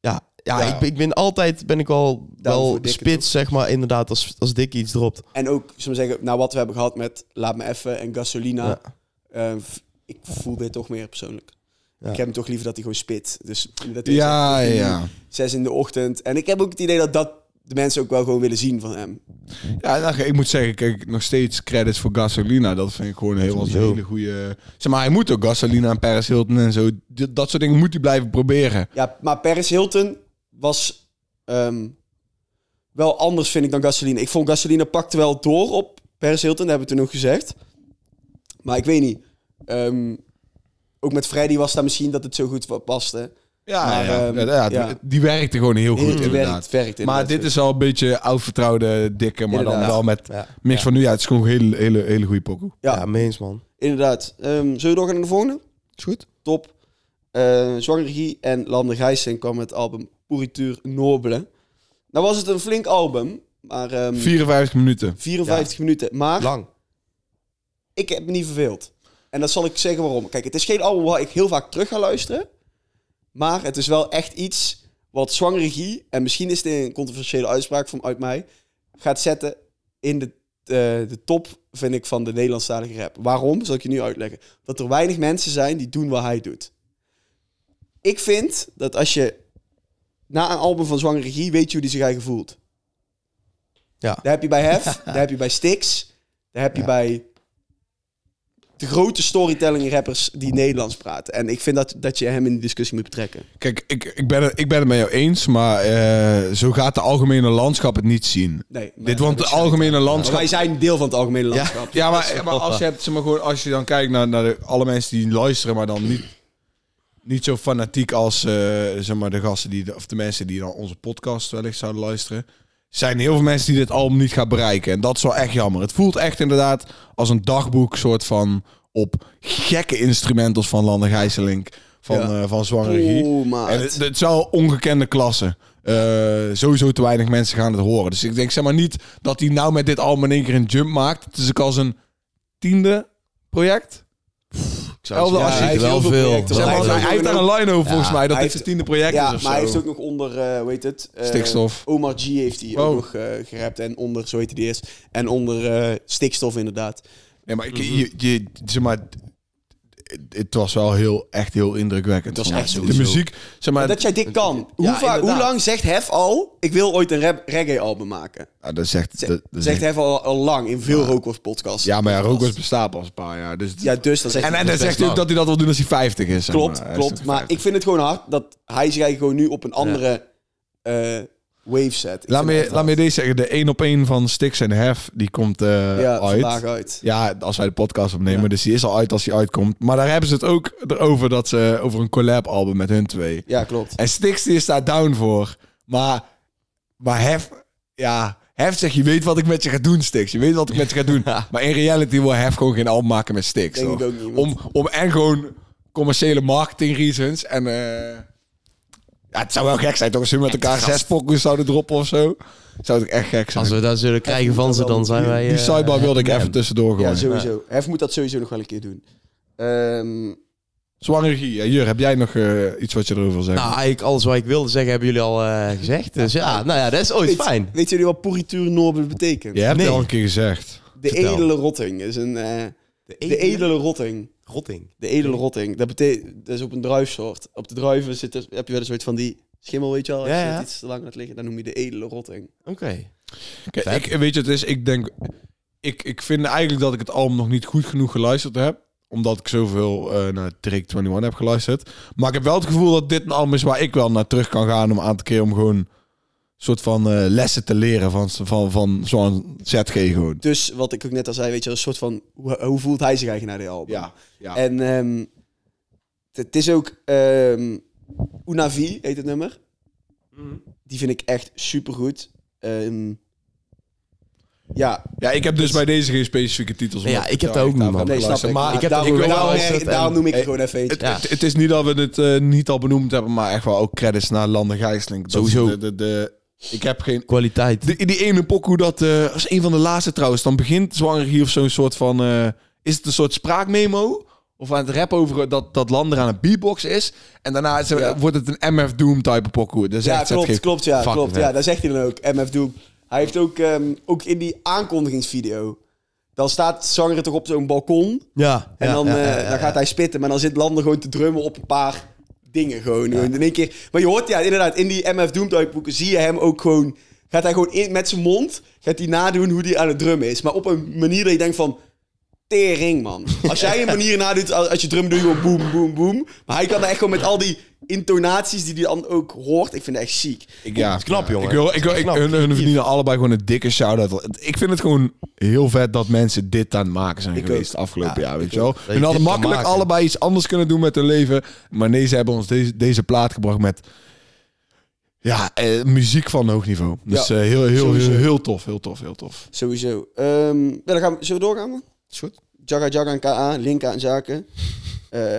S3: Ja, ja,
S1: Ja.
S3: Ik, ben- ik ben altijd ben ik al
S2: Down
S3: wel
S2: voor Dikke,
S3: spits, zeg maar, inderdaad, als, als Dikke iets dropt.
S2: En ook, zullen we zeggen, nou wat we hebben gehad met Laat Me Even en Gasolina. eh, v- ik voel dit toch meer persoonlijk.
S3: Ja.
S2: Ik heb hem toch liever dat hij gewoon spit. Dus dat is
S1: ja,
S2: echt-
S1: ja.
S2: zes in de ochtend. En ik heb ook het idee dat dat de mensen ook wel gewoon willen zien van hem.
S1: Ja, nou, ik moet zeggen, kijk, nog steeds credits voor Gasolina. Dat vind ik gewoon heel een
S3: Sowieso.
S1: hele goede. Zeg maar, hij moet ook Gasolina en Paris Hilton en zo. D- Dat soort dingen moet hij blijven proberen.
S2: Ja, maar Paris Hilton was ehm, wel anders, vind ik, dan Gasoline. Ik vond Gasoline pakte wel door op Paris Hilton, dat hebben we toen ook gezegd. Maar ik weet niet. Ehm, ook met Freddy was daar misschien dat het zo goed wa- paste.
S1: Ja,
S2: Maar,
S1: ja,
S2: ehm,
S1: ja, eh, ja,
S2: ja.
S1: d- die werkte gewoon heel goed,
S2: Het werkt,
S1: inderdaad.
S2: het werkt
S1: Maar
S2: inderdaad.
S1: dit is al een beetje oud vertrouwde dikke, maar dan
S2: Inderdaad.
S1: wel met
S3: Ja,
S1: mix van nu. Ja, het is gewoon een hele, hele, hele goede pokoe.
S2: Ja.
S3: ja. mee eens, man.
S2: Inderdaad. Ehm, zullen we doorgaan naar de volgende?
S3: Is goed.
S2: Top. Eh Zwangere Guy en Lande Gijsing kwam met het album Pourriture Noble. Nou was het een flink album, maar... ehm,
S1: 54 minuten.
S2: 54 minuten. Maar
S3: Lang.
S2: ik heb me niet verveeld. En dat zal ik zeggen waarom. Kijk, het is geen album waar ik heel vaak terug ga luisteren. Maar het is wel echt iets wat zwangere Guy, en misschien is dit een controversiële uitspraak vanuit mij, gaat zetten in de, eh, de top, vind ik, van de Nederlandstalige rap. Waarom? Zal ik je nu uitleggen. Dat er weinig mensen zijn die doen wat hij doet. Ik vind dat als je na een album van zwangere Guy weet je hoe die zich eigen voelt.
S3: Ja.
S1: [LAUGHS]
S2: Daar heb je bij Hef, daar heb je bij Stix, daar heb je bij de grote storytelling rappers die Nederlands praten. En ik vind dat, dat je hem in die discussie moet betrekken.
S1: Kijk, ik, ik, ben, het- ik ben het met jou eens, maar eh, zo gaat de algemene landschap het niet zien.
S2: Nee, maar-
S1: Dit, want de algemene
S2: Maar
S1: landschap...
S2: wij zijn deel van het algemene landschap.
S1: Ja, maar, maar als, je hebt, zeg maar, gewoon, als je dan kijkt naar, naar de, alle mensen die luisteren, maar dan niet, niet zo fanatiek als eh, zeg maar, de gasten die, de- of de mensen die dan onze podcast wellicht zouden luisteren, zijn heel veel mensen die dit album niet gaan bereiken. En dat is wel echt jammer. Het voelt echt inderdaad als een dagboek soort van op gekke instrumentals van Lande Gijselink, van,
S2: Ja.
S1: eh, van Zwangere Guy.
S2: Oeh, maat.
S1: En het, het is wel ongekende klasse. Eh, sowieso te weinig mensen gaan het horen. Dus ik denk zeg maar niet dat hij nou met dit album in één keer een jump maakt. Het is ook al zijn tiende project. Elde, als je-
S3: hij
S1: hij
S3: heeft
S2: heeft
S3: wel
S2: heel veel
S3: veel.
S2: projecten.
S1: Zeg
S2: hij
S1: maar,
S2: heeft
S1: hij,
S2: ook
S1: heeft
S2: nog-
S1: daar een line over volgens
S3: Ja,
S1: mij. Dat
S2: hij
S1: dit
S2: heeft-
S1: zijn tiende project
S2: Ja,
S1: is of
S2: maar hij
S1: zo.
S2: heeft ook nog onder, eh hoe heet het? Eh,
S1: Stikstof. Oh.
S2: Omar G heeft hij
S1: Wow.
S2: ook nog eh gerapt. En onder, zo heet hij die eerst. En onder eh, stikstof inderdaad.
S1: Nee,
S2: Mhm.
S1: maar ik, je, je, zeg maar... het- Het was wel heel, echt heel indrukwekkend.
S2: Het was
S1: Ja,
S2: echt
S1: de
S2: sowieso.
S1: muziek, zeg maar,
S2: dat jij dit kan. Hoe,
S3: Ja,
S2: vaak, hoe
S3: inderdaad.
S2: lang zegt Hef al, ik wil ooit een rap- reggae-album maken?
S1: ja, dat zegt,
S2: Zegt,
S1: dat, dat
S2: zegt
S1: zegt-
S2: Hef al, al lang in veel Rookworth podcasts.
S1: ja, maar ja, Rook was bestaat pas een paar jaar. Dus,
S2: Ja, dus dan zegt
S1: en
S2: hij-
S1: en dan zegt hij ook
S3: lang.
S1: dat hij dat wil doen als hij 50 is. zeg
S2: Klopt,
S1: maar. Hij is
S2: klopt.
S1: nog
S2: Maar
S1: 50.
S2: ik vind het gewoon hard dat hij zich eigenlijk gewoon nu op een andere eh, wave zet. Ik
S1: Laat
S2: vind
S1: me,
S2: het
S1: laat me deze zeggen. De 1 op 1 van Stix en Hef, die komt eh,
S2: hard. ja,
S1: uit.
S2: vandaag uit.
S1: Ja, als wij de podcast opnemen.
S2: Ja.
S1: Dus die is al uit als die uitkomt. Maar daar hebben ze het ook erover dat ze over een collab album met hun twee.
S2: Ja, klopt.
S1: En Stix die is daar down voor. Maar, maar Hef, ja, Hef zegt, je weet wat ik met je ga doen, Stix. Je weet wat ik met je ga
S2: [LAUGHS]
S1: doen. Maar in reality wil Hef gewoon geen album maken met Stix.
S2: Denk
S1: hoor.
S2: ik ook niet, want-
S1: Om, om en gewoon commerciële marketing reasons en... eh, ja, het zou wel gek zijn toch als ze met elkaar zes pokken zouden droppen of zo. Zou het echt gek zijn.
S3: Als we dat zullen krijgen van ze, dan zijn wij...
S1: Die
S3: eh,
S1: sidebar wilde ik even tussendoor
S2: Ja,
S1: gooien.
S2: sowieso. Hef moet dat sowieso nog wel een keer doen. Ehm,
S1: Zwanger Guy, ja, Jur, heb jij nog eh, iets wat je erover wil zeggen?
S3: Nou, eigenlijk alles wat ik wilde zeggen hebben jullie al eh, gezegd. Dus ja, nou ja, dat is ooit
S2: weet,
S3: fijn.
S2: Weet jullie wat puritur nobel betekent?
S1: je hebt
S3: nee.
S1: het al een keer gezegd.
S2: De
S3: vertel.
S2: edele rotting is een... eh, de edele rotting.
S3: Rotting.
S2: De edele rotting. Dat betekent... Dat is op een druifsoort. Op de druiven zit er, heb je wel een soort van die schimmel, weet je wel. Als
S3: Ja,
S2: je
S3: ja.
S2: het iets te lang laat liggen, dan noem je de edele rotting.
S3: Oké.
S1: Kijk, ik, weet je, het is, ik denk, ik, ik vind eigenlijk dat ik het album nog niet goed genoeg geluisterd heb. Omdat ik zoveel eh, naar Drake 21 heb geluisterd. Maar ik heb wel het gevoel dat dit een album is waar ik wel naar terug kan gaan om een aantal keer om gewoon een soort van eh, lessen te leren van, van, van zo'n ZG gewoon.
S2: Dus wat ik ook net al zei, weet je, een soort van... Hoe, hoe voelt hij zich eigenlijk naar die album?
S1: Ja, ja.
S2: En ehm, het- het is ook ehm Unavi heet het nummer.
S3: Mhm.
S2: Die vind ik echt supergoed. Ehm ja,
S1: ja, ik heb dus bij deze geen specifieke titels.
S3: Ja,
S1: omdat
S3: ik
S1: daar
S3: heb daar ook
S1: echt
S3: niet,
S1: aan
S3: man.
S1: heb
S2: nee, snap
S1: geluisterd.
S2: ik.
S1: Maar
S2: Maar
S3: ik heb
S2: daarom,
S3: er ook wel
S2: daarom,
S3: geluisterd en-
S2: daarom noem ik het
S1: Hey,
S2: gewoon even eentje.
S1: Het,
S3: Ja.
S1: het, het is niet dat we het eh, niet al benoemd hebben, maar echt wel ook credits naar Landen Gijsling. Dat is De,
S3: Sowieso.
S1: de, de- ik heb geen...
S3: Kwaliteit.
S1: Die, die ene pokoe, dat eh, als een van de laatste trouwens, dan begint Zwanger hier of zo'n soort van... eh, is het een soort spraakmemo? Of aan het rap over dat, dat Lander aan het beatbox is. En daarna is er-
S2: Ja.
S1: wordt het een MF Doom type pokoe. Dus
S2: Ja,
S1: echt, zet
S2: klopt,
S1: geen-
S2: klopt, ja,
S3: fucking
S2: klopt.
S3: vet.
S2: Ja, daar zegt hij dan ook, MF Doom. Hij heeft ook, ehm, ook in die aankondigingsvideo... Dan staat Zangere toch op zo'n balkon...
S3: Ja.
S2: En
S3: ja,
S2: dan,
S3: ja,
S2: eh,
S3: ja, ja,
S2: dan gaat hij spitten, maar dan zit Lander gewoon te drummen op een paar dingen. Gewoon, Gewoon in één keer. Maar je hoort ja, inderdaad, in die MF Doom type boeken zie je hem ook gewoon. Gaat hij gewoon in, met zijn mond, gaat hij nadoen hoe hij aan het drummen is. Maar op een manier dat je denkt van. Tering, man. Als jij een manier nadoet, als als je drum doet, gewoon boem, boem, boem. Maar hij kan er echt gewoon met al die intonaties die hij dan ook hoort. Ik vind het echt ziek.
S1: Ik, ja,
S3: Het is knap, jongen.
S1: Ik wil, ik wil,
S3: Het is
S1: ik,
S3: knap.
S1: hun, hun verdienen allebei gewoon een dikke shout-out. Ik vind het gewoon heel vet dat mensen dit aan het maken zijn
S2: Ik
S1: geweest
S2: ook.
S1: de afgelopen
S3: Ja,
S1: jaar, weet
S3: ik
S1: je wel.
S3: ook. Dat je
S1: Hun hadden
S3: dit kan
S1: makkelijk
S3: maken.
S1: allebei iets anders kunnen doen met hun leven. Maar nee, ze hebben ons deze, deze plaat gebracht met... Ja, eh, muziek van hoog niveau. Dus
S2: Ja,
S1: eh, heel, heel, heel,
S2: sowieso.
S1: heel tof, heel tof, heel tof.
S2: Sowieso. Ehm, ja, dan gaan we, zullen we doorgaan, man?
S1: Is goed.
S2: Jaga Jaga en KA, Linka en Zaken. Eh,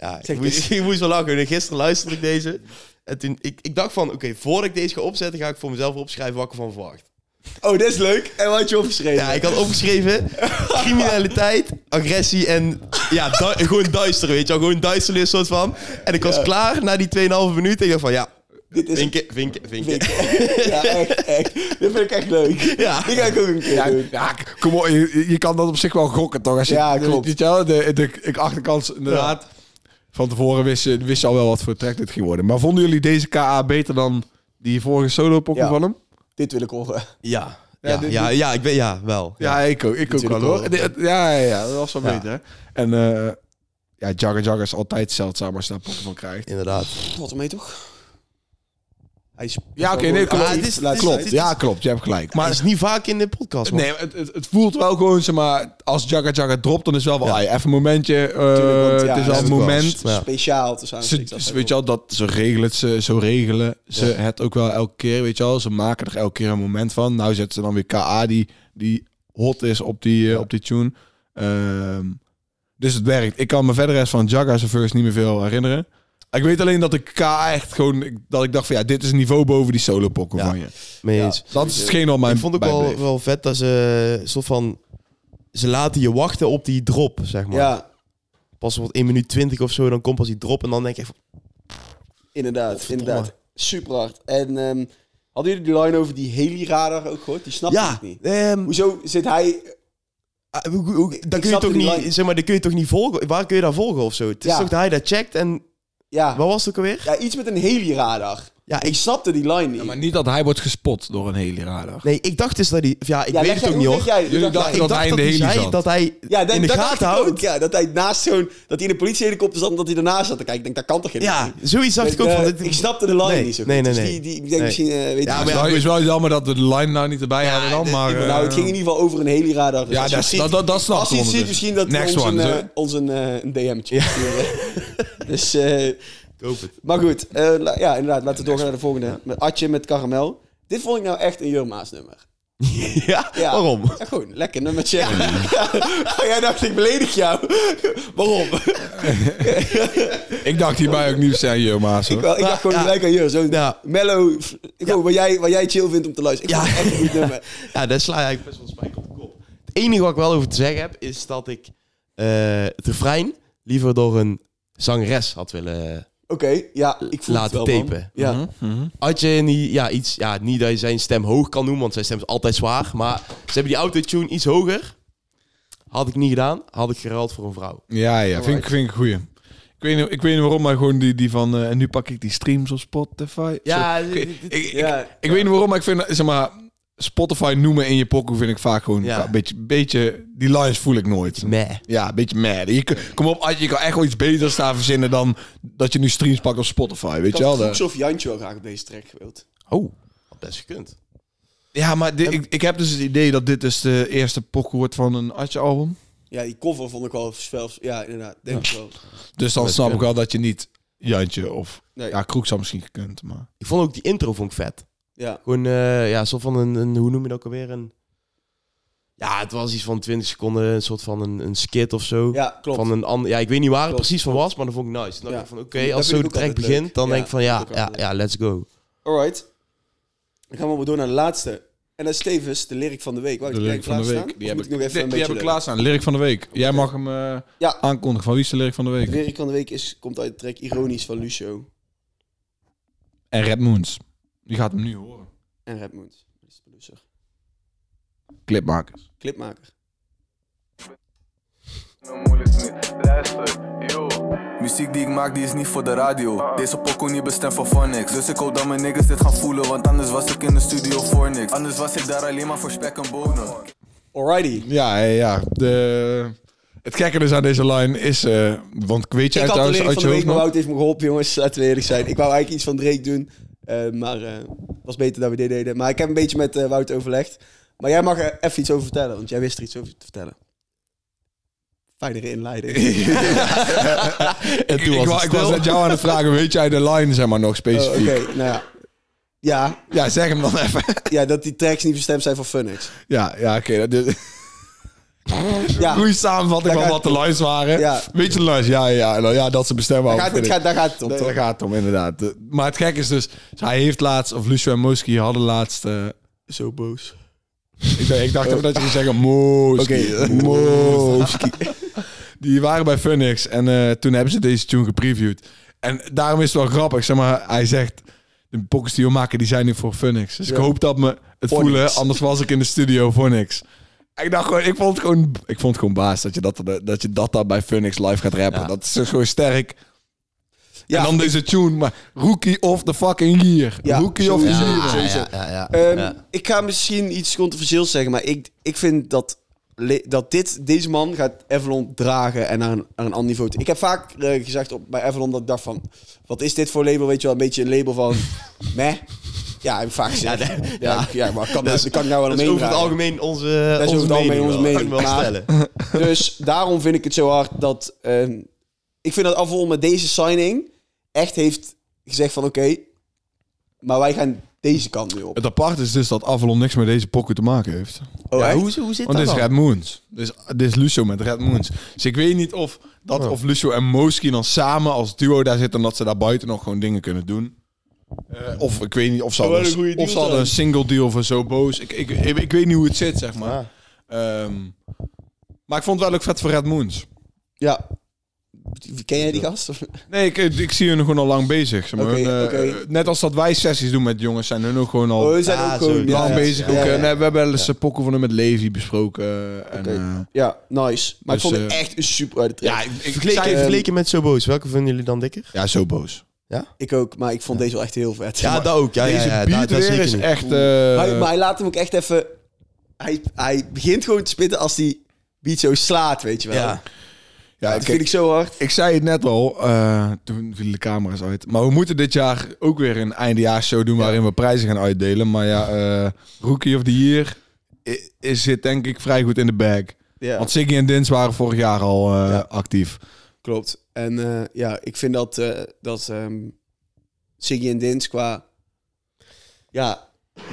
S3: Ja,
S2: Zeg,
S3: ik, moest, ik moest wel lachen. Gisteren luisterde ik deze. En toen, ik, ik dacht van, oké, voordat ik deze ga opzetten, ga ik voor mezelf opschrijven wat ik ervan verwacht.
S2: oh, dat is leuk. En wat had je opgeschreven?
S3: Ja, ik had
S2: [LAUGHS]
S3: opgeschreven criminaliteit, agressie en ja, du- gewoon duister, weet je wel. Gewoon duisterlijk soort van. En ik was klaar na die 2,5 minuten. Ik dacht van, ja,
S2: Dit is
S3: vinken, vinken, vinken.
S2: [LAUGHS] ja, echt, echt. Dit vind ik echt leuk.
S3: Ja.
S2: Die ga ik ook een keer
S1: Ja,
S2: doen.
S1: ja, k- kom op, je, je kan dat op zich wel gokken, toch? Als je,
S2: Ja, klopt.
S1: Weet je wel, de, de, ik achterkant inderdaad. Van tevoren wist je, wist je al wel wat voor track dit ging worden. Maar vonden jullie deze KA beter dan die vorige solo pokken
S2: Ja.
S1: van hem?
S2: Dit wil ik horen.
S3: Ja, Ja, ja,
S1: dit-
S3: ja, ik weet, ja, wel.
S1: Ja, ik ook, ik ook wel
S2: Natuurlijk
S1: hoor.
S2: wel.
S1: Dit- Ja, ja, ja, dat was wel
S3: Ja.
S1: beter. Hè? En eh ja, Jagger Jagger is altijd zeldzaam als je daar Pokémon krijgt.
S3: Inderdaad.
S2: Wat ermee toch? Hij is
S1: Ja, oké, nee, klopt.
S3: Ah, dit is-
S1: Laat-
S3: dit is-
S1: klopt.
S3: dit is-
S1: ja, klopt. Je hebt gelijk.
S3: Maar
S1: Maar
S3: het is niet vaak in de podcast, man.
S1: nee, het, het, het voelt wel gewoon, zeg maar, als Jagger Jagger dropt, dan is wel wel, "Ai, even een momentje. eh,
S2: Tuurlijk, want ja,
S1: het is
S2: dat
S1: wel
S2: is
S1: een
S3: ook wel
S1: moment.
S3: Ja.
S2: speciaal. tussen
S1: Ze,
S2: aanhalingstekens,
S1: ze-
S2: dat
S1: weet je wel, dat ze regelen het, ze, zo regelen ze het ook wel elke keer, weet je wel. Ze maken er elke keer een moment van. Nou zetten ze dan weer KA die, die hot is op die, eh, op die tune. Ehm, dus het werkt. Ik kan me verder rest van Jagger's first niet meer veel herinneren. Ik weet alleen dat ik KA echt gewoon, ik- dat ik dacht van ja, dit is een niveau boven die solo pokken
S3: Ja.
S1: van je.
S3: Mee eens.
S1: Dat is hetgeen wat mij
S3: ik vond ook wel,
S1: bijbleef.
S3: wel vet dat ze een soort van... Ze laten je wachten op die drop, zeg maar.
S2: Ja,
S3: Pas op 1 minuut 20 of zo, dan komt pas die drop. En dan denk je echt van...
S2: inderdaad,
S3: Godverdomme.
S2: inderdaad. Super hard. En ehm, hadden jullie die line over die heliradar ook gehoord? Die snapte
S3: Ja,
S2: ik niet.
S3: ehm,
S2: Hoezo zit hij...
S3: ah, hoe- hoe- dan, kun je
S2: snapte
S3: toch
S2: die
S3: niet,
S2: line.
S3: zeg maar, dan kun je toch niet volgen? Waar kun je daar volgen of zo? Het is
S2: Ja.
S3: toch dat hij dat checkt en...
S2: Ja,
S3: Wat was het ook alweer?
S2: ja iets met een heliradar.
S3: Ja,
S2: Ik
S3: ik,
S2: snapte die line niet.
S1: Ja, maar niet dat hij wordt gespot door een hele radar.
S3: nee, ik dacht dus dat hij... Ja, ik
S2: Ja,
S3: weet
S2: leg
S3: het
S2: jij-
S3: ook
S2: hoe
S3: niet,
S2: leg
S3: hoor.
S2: jij-
S1: Jullie
S2: hoe leg
S1: dachten
S2: jij-
S1: dat hij in de
S3: hij
S1: heli
S3: zei
S1: zat.
S3: dat hij
S2: Ja, dat,
S3: in de
S2: dat dacht
S3: gaten
S2: ik ook,
S3: houdt.
S2: Ja, dat hij naast zo'n... Dat hij in de politiehelikopter zat en dat hij ernaast zat te kijken. Ik denk, dat kan toch geen
S3: Ja, zoiets dacht ik ook.
S2: eh,
S3: van, dit-
S2: ik snapte de line
S3: Nee,
S2: niet zo goed.
S3: nee, nee,
S2: Dus
S3: nee.
S2: die, die, ik denk
S3: Nee.
S2: misschien... eh, weet
S3: Ja,
S2: je,
S1: maar
S3: maar
S1: ja,
S3: ja,
S1: het is wel jammer dat we de line nou niet erbij hadden dan,
S3: dit-
S1: maar...
S3: ik-
S2: nou, het
S1: eh,
S2: ging in ieder geval over een heliradar. Dus
S1: Ja,
S2: als
S1: dat,
S2: je
S1: dat,
S2: ziet-
S1: dat, dat snap
S2: Als
S1: ik
S2: hij het ziet,
S1: ondertussen.
S2: misschien dat hij
S1: Next
S2: ons,
S1: one.
S2: een,
S1: zo.
S2: eh, ons een, eh, een DM'tje sturen. [LAUGHS] dus, eh, maar goed. eh, la- ja, inderdaad. Laten we doorgaan naar de volgende. Met Atje met Karamel. Dit vond ik nou echt een Jurma's nummer.
S3: [LAUGHS] ja,
S2: Ja.
S3: waarom?
S2: Ja, gewoon, lekker nummertje. [LAUGHS] Ja. Oh, Jij dacht, ik beledig jou. [LAUGHS] Waarom?
S1: Ik dacht hierbij ook nieuw zijn, joh, Maas.
S2: Ik, wel, ik dacht gewoon
S3: Ja.
S2: gelijk aan Jur. Zo'n
S3: Ja.
S2: mellow, f- gewoon wat, jij, wat jij chill vindt om te luisteren. Ik
S3: Ja.
S2: vond het echt een goed nummer.
S3: Ja, daar sla je eigenlijk best wel de spijker op de kop. Het enige wat ik wel over te zeggen heb, is dat ik eh, het refrein liever door een zangeres had willen eh,
S2: Oké, ja, ik voel
S3: laten
S2: het wel, man.
S3: tapen.
S2: Ja.
S1: Mhm.
S3: Had je niet, ja, iets, ja, niet dat je zijn stem hoog kan doen, want zijn stem is altijd zwaar. Maar ze hebben die autotune iets hoger. Had ik niet gedaan, had ik geruild voor een vrouw.
S1: Ja, ja, vind ik, vind ik een goeie. Ik weet, niet, ik weet niet waarom, maar gewoon die, die van... eh, en nu pak ik die streams op Spotify.
S3: Ja,
S1: Zo, ik,
S3: dit- dit-
S1: ik, ik,
S2: ja.
S1: ik weet niet waarom, maar ik vind... Zeg maar, Spotify noemen in je pokoe vind ik vaak gewoon
S3: Ja.
S1: een beetje, beetje... Die lines voel ik nooit.
S3: Meh.
S1: Ja, een beetje mad. Je, kun- kom op, Adje, je kan echt wel iets beters daar verzinnen dan dat je nu streams pakt op Spotify, weet
S2: Ik
S1: je wel?
S2: had
S1: De-
S2: Koeks of Jantje wel graag op deze track gewild.
S3: Oh, had best gekund.
S1: Ja, maar dit- ik, ik heb dus het idee dat dit dus de eerste pokoe wordt van een Adje-album.
S2: Ja, die cover vond ik wel zelfs... Ja, inderdaad. Denk ik wel.
S1: Dus dan
S3: Dat
S1: snap ik
S3: kunnen.
S1: wel dat je niet Jantje of...
S2: Nee.
S1: Ja, Kroek zou misschien gekund, maar...
S3: Ik vond ook die intro vond ik vet.
S2: Ja.
S3: Gewoon, eh, ja, soort van een, een, hoe noem je dat ook alweer? Een, ja, het was iets van 20 seconden, een soort van een, een skit of zo.
S2: Ja, klopt.
S3: Van een ander, ja, ik weet niet waar het
S2: Klopt,
S3: precies van was, maar dan vond ik nice. Dan
S2: Ja.
S3: dacht ik van, oké,
S2: Dat vind
S3: als zo
S2: ik
S3: de
S2: ook
S3: track
S2: altijd
S3: begint,
S2: leuk.
S3: dan
S2: Ja,
S3: denk ik van,
S2: vind
S3: ja,
S2: ik ook
S3: ja,
S2: altijd
S3: ja, let's go.
S2: Alright. Dan gaan we maar door naar de laatste. En dat is tevens de lyric van de week. Wou je
S1: De lyric van de
S2: klaarstaan?
S1: week.
S2: Of moet Oh, ik nog even
S1: die,
S2: een
S1: die
S2: beetje
S1: heb ik klaarstaan. Lyric van de week. Jij mag hem eh,
S2: Ja.
S1: aankondigen. Van wie is de lyric van de
S2: De
S1: week?
S2: lyric van de week is, komt uit de track Ironisch van Lucio
S1: En Red Moons. Die gaat hem nu horen.
S2: en Redmond. Dat is de producer.
S1: Clipmakers.
S2: Clipmaker.
S4: Luister, yo.
S5: Muziek die ik maak, die is niet voor de radio. Deze pokoe niet bestemd voor phonics. Dus ik hoop dat mijn niggas dit gaan voelen, want anders was ik in de studio voor niks. Anders was ik daar alleen maar voor spek en bonen.
S2: Alrighty.
S1: Ja, ja, ja. De... Het gekke dus aan deze line is... eh, want weet jij
S2: ik had de
S1: trouwens
S2: lyric
S1: uit je
S2: van de
S1: hoofd
S2: week, maar
S1: nog?
S2: Wout heeft me geholpen, jongens. Laten we eerlijk zijn. Ik wou eigenlijk iets van Drake doen, eh, maar eh was beter dat we dit deden. Maar ik heb een beetje met eh, Wout overlegd. Maar jij mag er even iets over vertellen, want jij wist er iets over te vertellen. Fijnere
S1: [LAUGHS]
S2: inleiding. Oh,
S3: En
S1: Ik,
S3: toen was
S1: wou-
S3: het
S1: ik was
S3: stil.
S1: net jou aan het vragen. Weet jij de line zeg maar nog
S2: Oh, Oké,
S1: specifiek?
S2: nou ja. ja.
S1: Ja, zeg hem dan [LAUGHS] even.
S2: Ja, dat die tracks niet bestemd zijn voor Funix.
S1: ja, ja oké. dat dit...
S2: Ja,
S1: Goeie samenvatting
S2: Daar
S1: van wat
S2: gaat-
S1: de lines waren.
S2: Ja.
S1: Weet je de lines? Ja, ja, ja. Nou, ja dat ze bestemmen.
S2: daar
S1: over
S2: gaat, het-
S1: Phoenix.
S2: gaat, daar gaat het om,
S1: Nee,
S2: toch?
S1: Daar gaat het om, inderdaad. De- Maar het gek is dus, hij heeft laatst, of Lucio en Moski hadden laatst... eh,
S2: Zo boos.
S1: ik dacht, ik dacht even dat je ging zeggen Moski. Moski. [LAUGHS] Die waren bij Phoenix en eh, toen hebben ze deze tune gepreviewd. En daarom is het wel grappig, zeg maar, hij zegt... De pokkers die we maken, die zijn nu voor Phoenix. Dus ik
S2: Ja.
S1: hoop dat me het
S2: Voor
S1: voelen,
S2: niks.
S1: anders was ik in de studio voor niks. Ik dacht gewoon, ik vond het gewoon, ik vond het gewoon baas dat je dat, dat, je dat daar bij Phoenix live gaat rappen.
S3: Ja.
S1: Dat is gewoon sterk.
S2: Ja.
S1: En dan deze tune, maar rookie of the fucking year.
S2: Ja,
S1: rookie of the
S2: sowieso.
S1: year.
S2: sowieso.
S3: Ja, ja, ja,
S2: Ehm,
S3: ja.
S2: Ik ga misschien iets controversieels zeggen, maar ik, ik vind dat, le- dat dit, deze man gaat Avalon dragen en naar een, naar een ander niveau. toe. Ik heb vaak eh, gezegd op, bij Avalon dat ik dacht van, wat is dit voor label? Weet je wel, een beetje een label
S3: [LAUGHS]
S2: van, meh. Ja, heb ik vaak gezegd. Ja, ja, maar kan, dat kan ik nou wel
S3: Dat
S2: mee
S3: is Dus- over het algemeen onze,
S2: Dat is
S3: onze
S2: over het algemeen
S3: mening
S2: onze
S3: wel.
S2: mening.
S3: Kan ik wel
S2: Maar-
S3: stellen.
S2: Dus daarom vind ik het zo hard dat... ehm, ik vind dat Avalon met deze signing echt heeft gezegd van... Oké, maar wij gaan deze kant nu op.
S1: Het apart is dus dat Avalon niks met deze pokoe te maken heeft.
S2: Oh,
S3: Ja,
S2: echt?
S3: hoe, hoe zit
S1: Want
S3: dat
S1: dit is
S3: dan?
S1: Red Moons. Dit is, dit is Lucio met Red Moons. Dus ik weet niet of dat of Lucio en Moski dan samen als duo daar zitten... en dat ze daar buiten nog gewoon dingen kunnen doen. Eh, of ik weet niet of ze
S2: Zou wel
S1: hadden,
S2: een goede
S1: een,
S2: deal
S1: of ze hadden
S2: zijn.
S1: een single deal voor zo boos. Ik, ik, ik, ik weet niet hoe het zit, zeg maar.
S3: Ah.
S1: Ehm, maar ik vond het wel ook vet voor Red Moons.
S2: Ja. Ken jij die gast? Of-
S1: Nee, ik, ik zie hun gewoon al lang bezig. zeg maar.
S2: Oké,
S1: Hun, eh,
S2: oké.
S1: Net als dat wij sessies doen met jongens, zijn hun ook gewoon al
S2: Oh, we zijn
S3: Ah,
S2: ook gewoon...
S3: zo,
S1: lang
S3: ja,
S1: bezig. ook,
S2: Ja,
S1: eh,
S2: ja.
S1: nee, we hebben wel eens een pokken van hem met Levi besproken. eh, en,
S2: Oké.
S1: eh,
S2: Ja, nice. Maar ik
S1: Dus,
S2: vond het
S1: eh,
S2: echt een super harde track.
S1: ja, ik, ik
S3: Vergeleken,
S1: zei-
S3: vergeleken met Sobo's, welke vinden jullie dan dikker?
S1: ja, zo boos.
S2: Ik ook, maar ik vond deze wel echt heel vet.
S3: Ja,
S2: Maar-
S3: dat ook. Ja, ja,
S1: Deze
S3: ja,
S1: beat
S3: dat, dat
S1: weer
S3: zeker
S1: is
S3: niet.
S1: echt... eh,
S2: hij, maar hij laat hem ook echt even... Hij, hij begint gewoon te spitten als die beat zo slaat, weet je wel.
S3: Ja.
S1: ja,
S2: Dat
S1: kijk,
S2: vind ik zo hard.
S1: ik zei het net al, eh, toen vielen de camera's uit. Maar we moeten dit jaar ook weer een eindejaarsshow doen waarin we prijzen gaan uitdelen. Maar ja, eh, Rookie of the Year i- is, zit denk ik vrij goed in de bag.
S2: Ja.
S1: Want Ziggy en Dins waren vorig jaar al eh,
S2: Ja.
S1: actief.
S2: Klopt. En eh, ja, ik vind dat, eh dat ehm, Ziggy en Dins qua... Ja,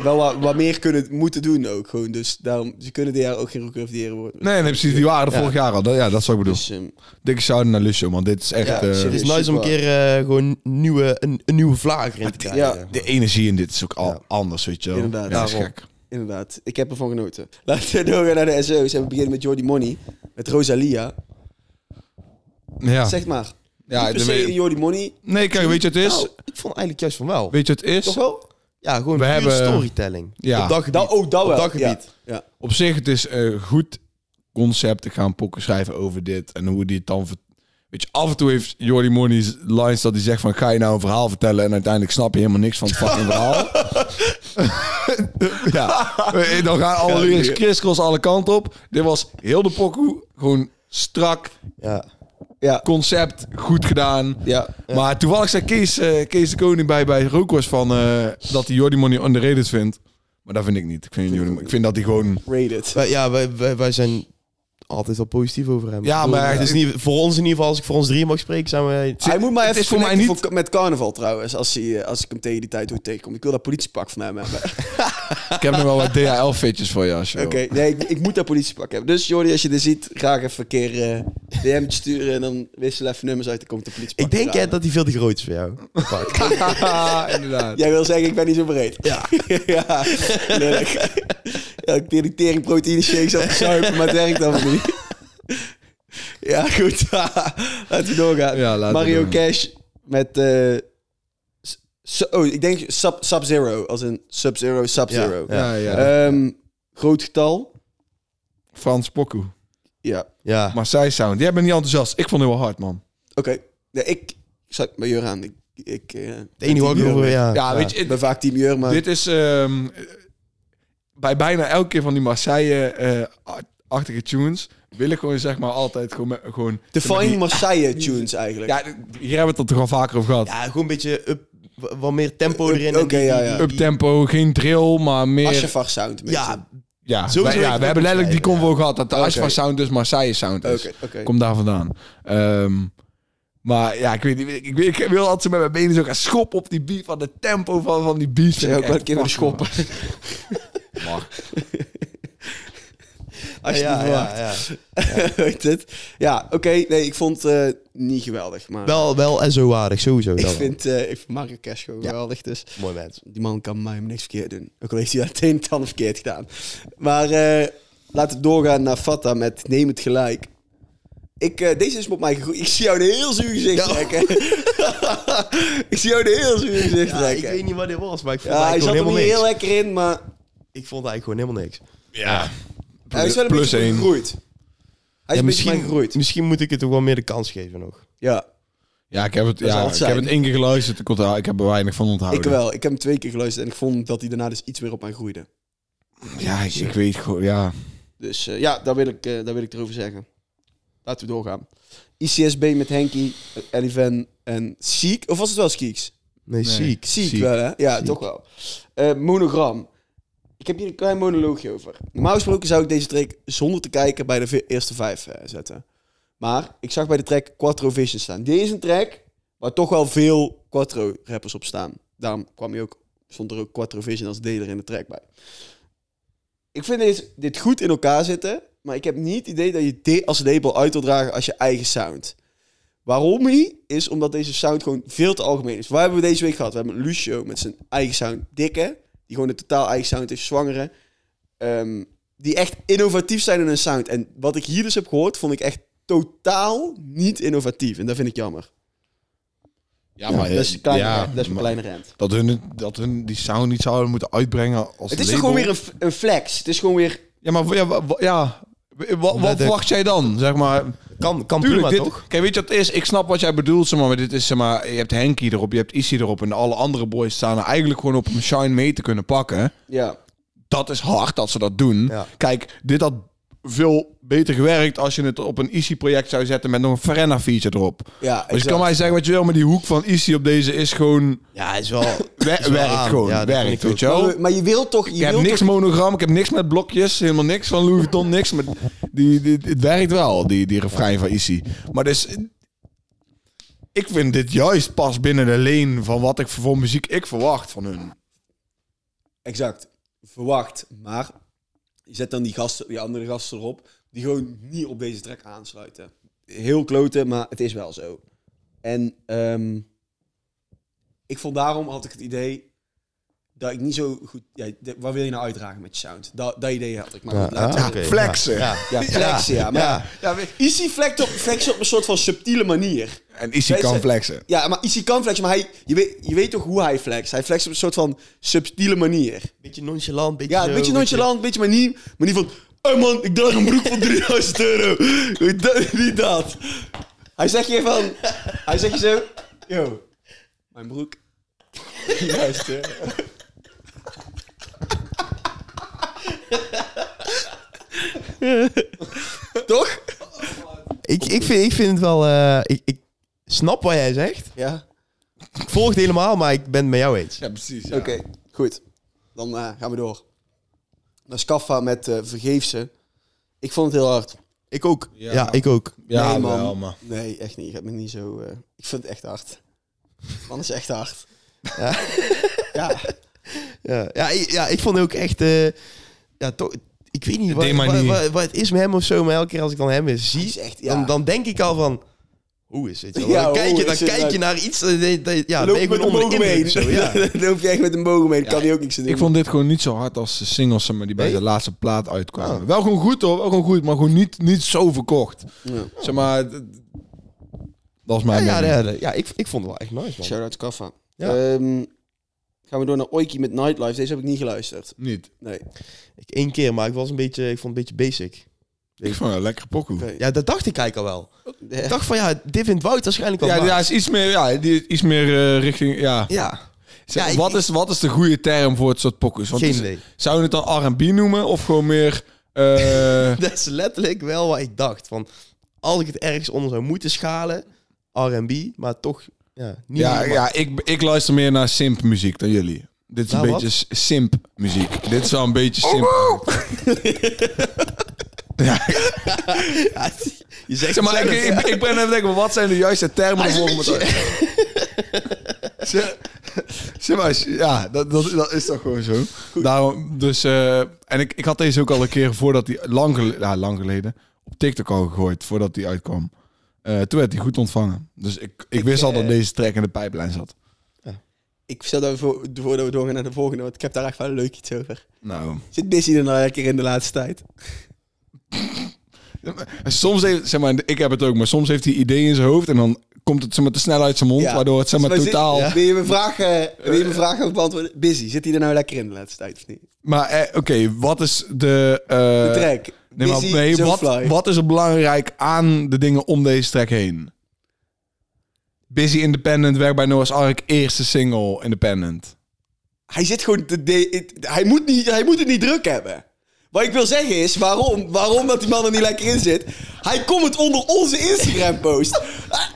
S2: wel wat, wat meer kunnen, moeten doen ook gewoon. Dus daarom, ze kunnen dit jaar ook geen Rooker of the Year worden.
S1: Nee, nee, precies. Die waren er
S2: Ja.
S1: vorig jaar al. Dat- Ja, dat zou ik bedoelen.
S2: Dus, ehm,
S1: Dikke shout naar Lucio, man. Dit is echt...
S2: Ja,
S1: eh,
S2: serieus.
S3: Het is nice om een keer eh, gewoon nieuwe, een, een nieuwe vlaag erin te krijgen.
S2: ja.
S3: zeg maar.
S1: de energie in dit is ook al anders, weet je wel.
S2: Inderdaad.
S1: Ja, dat is
S2: Daarom.
S1: gek.
S2: Inderdaad, ik heb ervan genoten. [LAUGHS] Laten we doorgaan naar de SO's en we beginnen met Jordi Money. Met Rosalia.
S1: Ja.
S2: Zeg maar.
S1: Ah. ja
S2: niet per
S1: dan
S2: se
S1: weet-
S2: Jordi Money.
S1: nee, kijk, weet je wat het is?
S3: Nou, ik vond eigenlijk juist van wel.
S1: Weet je wat het is?
S2: Toch wel?
S3: Ja, gewoon
S1: We
S3: puur
S1: hebben-
S3: storytelling.
S1: Ja.
S3: Op dat gebied.
S2: Dat, oh, dat
S3: Op
S2: wel.
S3: dat gebied.
S2: Ja. ja.
S1: Op zich, het is een goed concept. Ik ga een pokken schrijven over dit en hoe die het dan... ver- Weet je, af en toe heeft Jordi Money's lines dat hij zegt van... Ga je nou een verhaal vertellen en uiteindelijk snap je helemaal niks van het fucking
S2: [LAUGHS]
S1: verhaal. ja, Eh, dan gaan alle lyrics crisscross alle kanten op. Dit was heel de pokoe, gewoon strak,
S3: Ja.
S2: Ja.
S1: concept, goed gedaan.
S2: Ja.
S1: Maar toevallig zei Kees, eh, Kees de Koning bij, bij Rokos van eh, dat hij Jordi Money underrated vindt. Maar dat vind ik niet. Ik vind, Jordi, ik vind dat hij gewoon...
S2: Rated.
S1: Eh,
S3: Wij, ja, wij, wij, wij zijn altijd al positief over hem.
S1: Ja,
S3: Ik bedoel, eh,
S1: maar-
S3: Het is niet, voor ons in ieder geval, als ik voor ons drie mag spreken, zijn wij...
S2: Hij moet maar
S1: het
S2: even
S1: is voor mij
S2: connecten
S1: niet-
S2: voor- met carnaval trouwens. Als, hij, eh, als ik hem tegen die tijd hoe tegenkom. Ik wil dat politiepak van
S1: [LAUGHS]
S2: hem hebben. Oké.
S1: Ik heb nog wel wat DHL-fitjes voor je als je wil.
S2: Nee, ik, ik moet dat politiepak hebben. Dus Jordi, als je dit ziet, graag even een keer eh, DM sturen. En dan wisselen even nummers uit. Dan komt de politiepak.
S3: Ik denk
S2: eraan.
S3: hè, dat hij veel te groot is voor jou.
S1: Haha, inderdaad.
S2: Jij wil zeggen, ik ben niet zo breed. Ja. [LAUGHS] ja. Leuk. Ja, ik probeer die tering proteïne shakes af te zuipen, maar het werkt allemaal niet. Ja, goed. [LAUGHS] laten we doorgaan.
S1: Ja, laten we
S2: Mario
S1: doorgaan.
S2: Cash met... eh, s- s- oh, ik denk sub, Sub-Zero. Als een Sub-Zero, Sub-Zero.
S1: Ja, ja.
S2: Ehm, groot getal.
S1: Frans Pokoe.
S2: Ja,
S3: [LAUGHS] Ja.
S1: Marseille Sound. Jij bent niet enthousiast. Ik vond het wel hard, man.
S2: oké. Nee, ik zat bij Jur aan. Ik, ik eh,
S3: Het enige wat ik
S2: team
S3: over...
S2: Jur.
S3: Ja,
S1: Ja, weet je,
S2: Ik ben vaak team Jur, maar...
S1: dit is... ehm, bij bijna elke keer van die Marseille-achtige tunes... wil ik gewoon, zeg maar, altijd gewoon... met- gewoon
S2: Define Marseille tunes eigenlijk.
S1: ja, hier hebben we het er toch al vaker over gehad.
S3: Ja, gewoon een beetje up, wa- wat meer tempo
S2: Up-
S3: erin. en
S2: oké,
S3: die- die-
S2: ja, ja.
S3: die-
S1: Uptempo, geen drill, maar meer...
S2: Asjafar sound. een beetje.
S3: Ja,
S1: Ja,
S3: Sowieso
S1: wij-
S3: weet
S1: ja
S3: ik
S1: we
S3: wat
S1: hebben
S3: ik
S1: letterlijk die
S3: zei,
S1: convo gehad. Dat de
S2: Oké.
S1: Ashfa Sound dus Marseille Sound is.
S2: Oké, oké.
S1: Komt daar vandaan. Ehm, maar ja, ik weet niet. Ik, ik, ik wil altijd zo met mijn benen zo gaan schoppen op die beat. Van de tempo van, van die beat.
S2: Zeg ook wel een keer willen schoppen. [LAUGHS]
S1: Mag.
S2: Als je het
S3: ja,
S2: niet verwacht.
S3: ja, ja.
S2: [LAUGHS] Weet het? Ja, oké. Nee, ik vond het eh, niet geweldig. Maar
S3: Wel, wel SO-waardig, sowieso. dat
S2: ik,
S3: wel.
S2: vind, eh, ik vind Mario Cash gewoon geweldig. Dus
S3: Mooi mens.
S2: die man kan mij niks verkeerd doen. Ook al heeft hij het een en ander verkeerd gedaan. Maar eh, laten we doorgaan naar Fatta met Neem het gelijk. Ik, eh, deze is op mij gegroeid. Ik zie jou een heel zuur gezicht trekken. [LAUGHS] ik zie jou een heel zuur gezicht
S3: Ja, ik
S2: trekken.
S3: weet niet wat dit was, maar ik vond
S2: ja,
S3: het
S2: hij
S3: eigenlijk
S2: zat er
S3: gewoon
S2: niet
S3: helemaal niks.
S2: heel lekker in, maar
S3: Ik vond het eigenlijk gewoon helemaal niks.
S1: Ja.
S2: hij is wel een
S1: Plus
S2: beetje
S1: één.
S2: gegroeid. Hij is een beetje
S3: misschien,
S2: gegroeid.
S3: misschien moet ik het toch wel meer de kans geven nog.
S2: Ja.
S1: Ja, ik heb het,
S2: Dat zal
S1: ja,
S2: het
S1: ik heb
S2: zijn.
S1: het één keer geluisterd. Ik, onthoud- ik heb er weinig van onthouden.
S2: Ik wel. Ik heb hem twee keer geluisterd en ik vond dat hij daarna dus iets weer op mij groeide.
S1: Ja, ik, ik weet gewoon, ja.
S2: Dus eh, ja, daar wil, ik, eh, daar wil ik erover zeggen. Laten we doorgaan. ICSB met Henky, Elivan en Siek. Of was het wel Skeeks?
S3: Nee, ziek.
S2: Ziek,
S1: Ziek.
S2: wel, hè? Ja,
S3: Ziek.
S2: toch wel. Eh, monogram. Ik heb hier een klein monoloogje over. Normaal gesproken zou ik deze track zonder te kijken bij de vi- eerste vijf eh, zetten. Maar ik zag bij de track Quattro Vision staan. Dit is een track waar toch wel veel Quattro rappers op staan. Daarom kwam je ook, stond er ook Quattro Vision als deler in de track bij. Ik vind dit, dit goed in elkaar zitten. Maar ik heb niet het idee dat je dit als label uit wil dragen als je eigen sound. Waarom hij? Is omdat deze sound gewoon veel te algemeen is. Waar hebben we deze week gehad? We hebben Lucio met zijn eigen sound. Dikke, die gewoon een totaal eigen sound heeft. Zwangere. ehm, die echt innovatief zijn in hun sound. En wat ik hier dus heb gehoord, vond ik echt totaal niet innovatief. En dat vind ik jammer.
S1: Ja,
S2: dat, is een kleine,
S1: ja,
S2: dat is een
S1: maar
S2: kleine rent.
S1: Dat hun, het- dat hun die sound niet zouden moeten uitbrengen als
S2: Het is
S1: label.
S2: toch gewoon weer een, f- een flex. Het is gewoon weer...
S1: Ja, maar ja, wa- wa- ja. Wa- wat
S3: dat-
S1: verwacht jij dan, zeg maar?
S3: Kan, kan
S1: Tuurlijk,
S3: prima,
S1: dit,
S3: toch?
S1: Kijk, weet je wat het is? Ik snap wat jij bedoelt, zeg maar, maar dit is, zeg maar, je hebt Henky erop, je hebt Issy erop en alle andere boys staan er eigenlijk gewoon op om Shine mee te kunnen pakken.
S2: Ja.
S1: Dat is hard dat ze dat doen.
S3: Ja.
S1: Kijk, dit had veel beter gewerkt als je het op een Issy-project zou zetten met nog een Farenna feature erop.
S2: Ja,
S1: dus je
S2: exact.
S1: kan mij zeggen wat je wil, maar die hoek van Issy op deze is gewoon...
S3: Ja, is wel... [LAUGHS]
S1: wer-
S3: is wel
S1: werkt
S3: aan.
S1: gewoon,
S3: Ja, dat vind
S1: werkt,
S3: ik ook.
S1: weet je wel?
S2: Maar, maar je wilt toch... Je
S1: Ik heb
S2: wilt
S1: niks monogram, ik heb niks met blokjes, helemaal niks van Louis Vuitton, niks. Maar die, die, het werkt wel, die, die refrein van Issy. Maar dus, ik vind dit juist pas binnen de leen van wat ik voor muziek ik verwacht van hun.
S2: Exact. Verwacht. Maar je zet dan die, gasten, die andere gasten erop die gewoon niet op deze track aansluiten. Heel kloten, maar het is wel zo. En ehm, ik vond daarom had ik het idee dat ik niet zo goed... Ja, de- waar wil je nou uitdragen met je sound? Dat, dat idee had ik. Maar goed,
S1: ah.
S2: laten we-
S3: oké.
S1: Flexen.
S3: Ja.
S2: ja, flexen, ja. Maar
S3: ja.
S2: ja, Easy flex op, flexen op een soort van subtiele manier.
S1: En Issy
S2: Weet
S1: kan
S2: je-
S1: flexen.
S2: Ja, maar Easy kan flexen, maar hij, je, weet, je weet toch hoe hij flext? Hij flext op een soort van subtiele manier.
S3: Beetje nonchalant, beetje
S2: Ja,
S3: zo,
S2: een beetje eh, nonchalant, een beetje maar niet, maar niet van... Hey man, ik draag een broek van 3000 euro. Dat- niet dat. Hij zegt je van... Hij zegt je zo... Yo, mijn broek. 3000 euro. Toch?
S3: Ik, ik, vind, ik vind het wel... eh, ik, ik snap wat jij zegt.
S2: Ja.
S3: Ik volg het helemaal, maar ik ben het met jou eens.
S1: Ja, precies.
S2: Oké, goed. Dan eh, gaan we door. Naar Scaffa met eh Vergeefse. Ik vond het heel hard.
S3: Ik ook.
S1: Ja.
S3: Ja, ik ook.
S1: Ja,
S2: nee, man.
S1: wel, maar...
S2: Nee, echt niet. Ik heb me niet zo. eh, Ik vind het echt hard. Man is echt
S1: [LAUGHS]
S2: hard.
S3: Ja.
S2: ja.
S3: Ja, ja, ik, ja, ik vond ook echt... eh, ja, toch... Ik weet niet wat,
S1: deed mij
S3: wat,
S1: niet.
S3: wat- wat het is met hem of zo, maar elke keer als ik dan hem weer zie,
S2: is echt- ja.
S3: dan, dan denk ik al van, hoe is het?
S2: Ja,
S3: dan kijk
S2: hoe
S3: je,
S2: is het
S3: dan kijk
S2: nou?
S3: je naar iets, dat je- dat je-
S2: Dan
S3: ja, ben
S2: loop
S3: je
S2: je met
S3: gewoon
S2: een
S3: onder de
S2: boog mee.
S3: indruk zo,
S2: [LAUGHS]
S3: ja.
S2: Dan loop je echt met een boog mee. Dan kan hij ook niks aan doen.
S1: Ik vond dit gewoon niet zo hard als de singles zeg maar, die bij
S3: Nee? Oh.
S1: de laatste plaat uitkwamen. Wel gewoon goed hoor, wel gewoon goed, maar gewoon niet, niet zo verkocht. Zeg maar, d- dat is
S3: Ja,
S1: mijn
S3: ja,
S1: mening.
S3: ja, ja, ja, ik, ik vond het wel echt nice, man.
S2: Shout-out Kaffa.
S3: Ja.
S2: Ehm, gaan we door naar Oiki met Nightlife. Deze heb ik niet geluisterd.
S1: Niet.
S2: Nee.
S3: Ik één keer, maar ik was een beetje, ik vond het een beetje basic.
S1: Ik vond het een lekkere pokoe.
S2: Oké.
S3: Ja, dat dacht ik eigenlijk al wel. Ik
S2: Ja.
S3: dacht van, ja, dit vindt Wout waarschijnlijk wel
S1: Ja,
S3: nice.
S1: ja, is iets meer, ja, die- iets meer eh, richting, ja.
S3: ja. [LAUGHS]
S1: Zeg,
S3: Ja, ik-
S1: wat, is, wat is de goede term voor het soort pokus? Want
S3: Geen
S1: is-
S3: idee.
S1: Zou je het dan R&B noemen of gewoon meer...
S3: [LAUGHS]
S1: eh,
S3: Dat is letterlijk wel wat ik dacht. Van, als ik het ergens onder zou moeten schalen, R&B, maar toch ja, niet
S1: ja,
S3: helemaal.
S1: ja ik, ik luister meer naar simp muziek dan jullie. Dit is
S3: Nou,
S1: een
S3: wat? Oh,
S1: beetje s- simp muziek. Dit is wel een beetje simp. ja,
S3: Ja, je zegt
S1: zeg maar, ik,
S3: het zelf.
S1: ik, ik ben even denken, wat zijn de juiste termen voor om het [LAUGHS] uit te- Zeg- Zeg maar, ja, dat, dat, dat is toch gewoon zo. Daarom, dus, eh, en ik, ik had deze ook al een keer voordat die lang, gel- ja, lang geleden op TikTok al gegooid, voordat die uitkwam. Eh, toen werd die goed ontvangen. Dus ik, ik, wist al dat deze track in de pijplijn zat.
S2: Ik stel daarvoor voor dat we doorgaan naar de volgende, want ik heb daar echt wel leuk iets over.
S1: Nou,
S2: Zit Busy er nou een keer in de laatste tijd?
S1: En soms heeft, zeg maar, ik heb het ook, maar soms heeft hij ideeën in zijn hoofd en dan komt het zeg maar, te snel uit zijn mond,
S2: Ja.
S1: waardoor het zeg maar,
S2: Dus wij
S1: totaal...
S2: zitten- Wil je mijn vraag, eh, wil je mijn vraag ook beantwoorden? Busy, zit hij er nou lekker in de laatste tijd of niet?
S1: Maar eh, oké, wat is de... eh,
S2: De track.
S1: Nee, maar,
S2: Busy,
S1: nee,
S2: So
S1: wat,
S2: Fly.
S1: wat is er belangrijk aan de dingen om deze track heen? Busy Independent werkt bij Noah's Ark. Eerste single Independent.
S2: Hij zit gewoon te... de- het- hij, moet niet, hij moet het niet druk hebben. Wat ik wil zeggen is, waarom? Waarom dat die man er niet lekker in zit? Hij komt onder onze Instagram-post.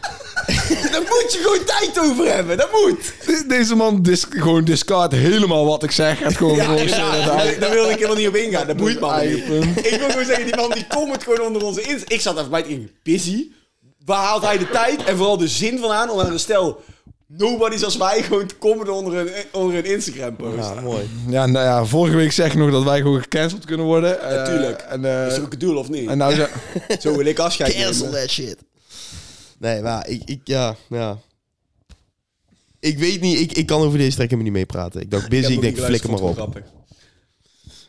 S2: [LAUGHS] Daar moet je gewoon tijd over hebben. Dat moet.
S1: De- deze man dis gewoon discard helemaal wat ik zeg. Gaat gewoon voor
S2: [LAUGHS] Ja, daar wilde ik helemaal niet op ingaan. Dat boeit me allemaal
S1: Eigen
S2: niet.
S1: punt.
S2: Ik wil gewoon zeggen, die man die komt gewoon onder onze in. Ik zat even bij het in. Busy. Waar haalt hij de tijd en vooral de zin van aan om aan een stel nobody's als wij gewoon te komen onder een, onder een Instagram post.
S3: Ja, mooi.
S1: Ja, nou ja, vorige week zeg ik nog dat wij gewoon gecanceld kunnen worden. Eh,
S2: Natuurlijk.
S1: En, eh,
S2: is dat ook het doel of niet?
S1: en nou
S2: [LAUGHS]
S1: ze-
S2: Zo wil ik afscheid
S3: Cancel
S2: nemen.
S3: that shit. Nee, maar ik, ik ja, ja. Ik weet niet, ik, ik kan over deze track helemaal niet meepraten. Ik dacht busy, ik,
S2: heb
S3: denk
S2: ook niet
S3: flikker maar
S2: geluisterd,
S3: op.
S2: vond ik wel
S3: Ja.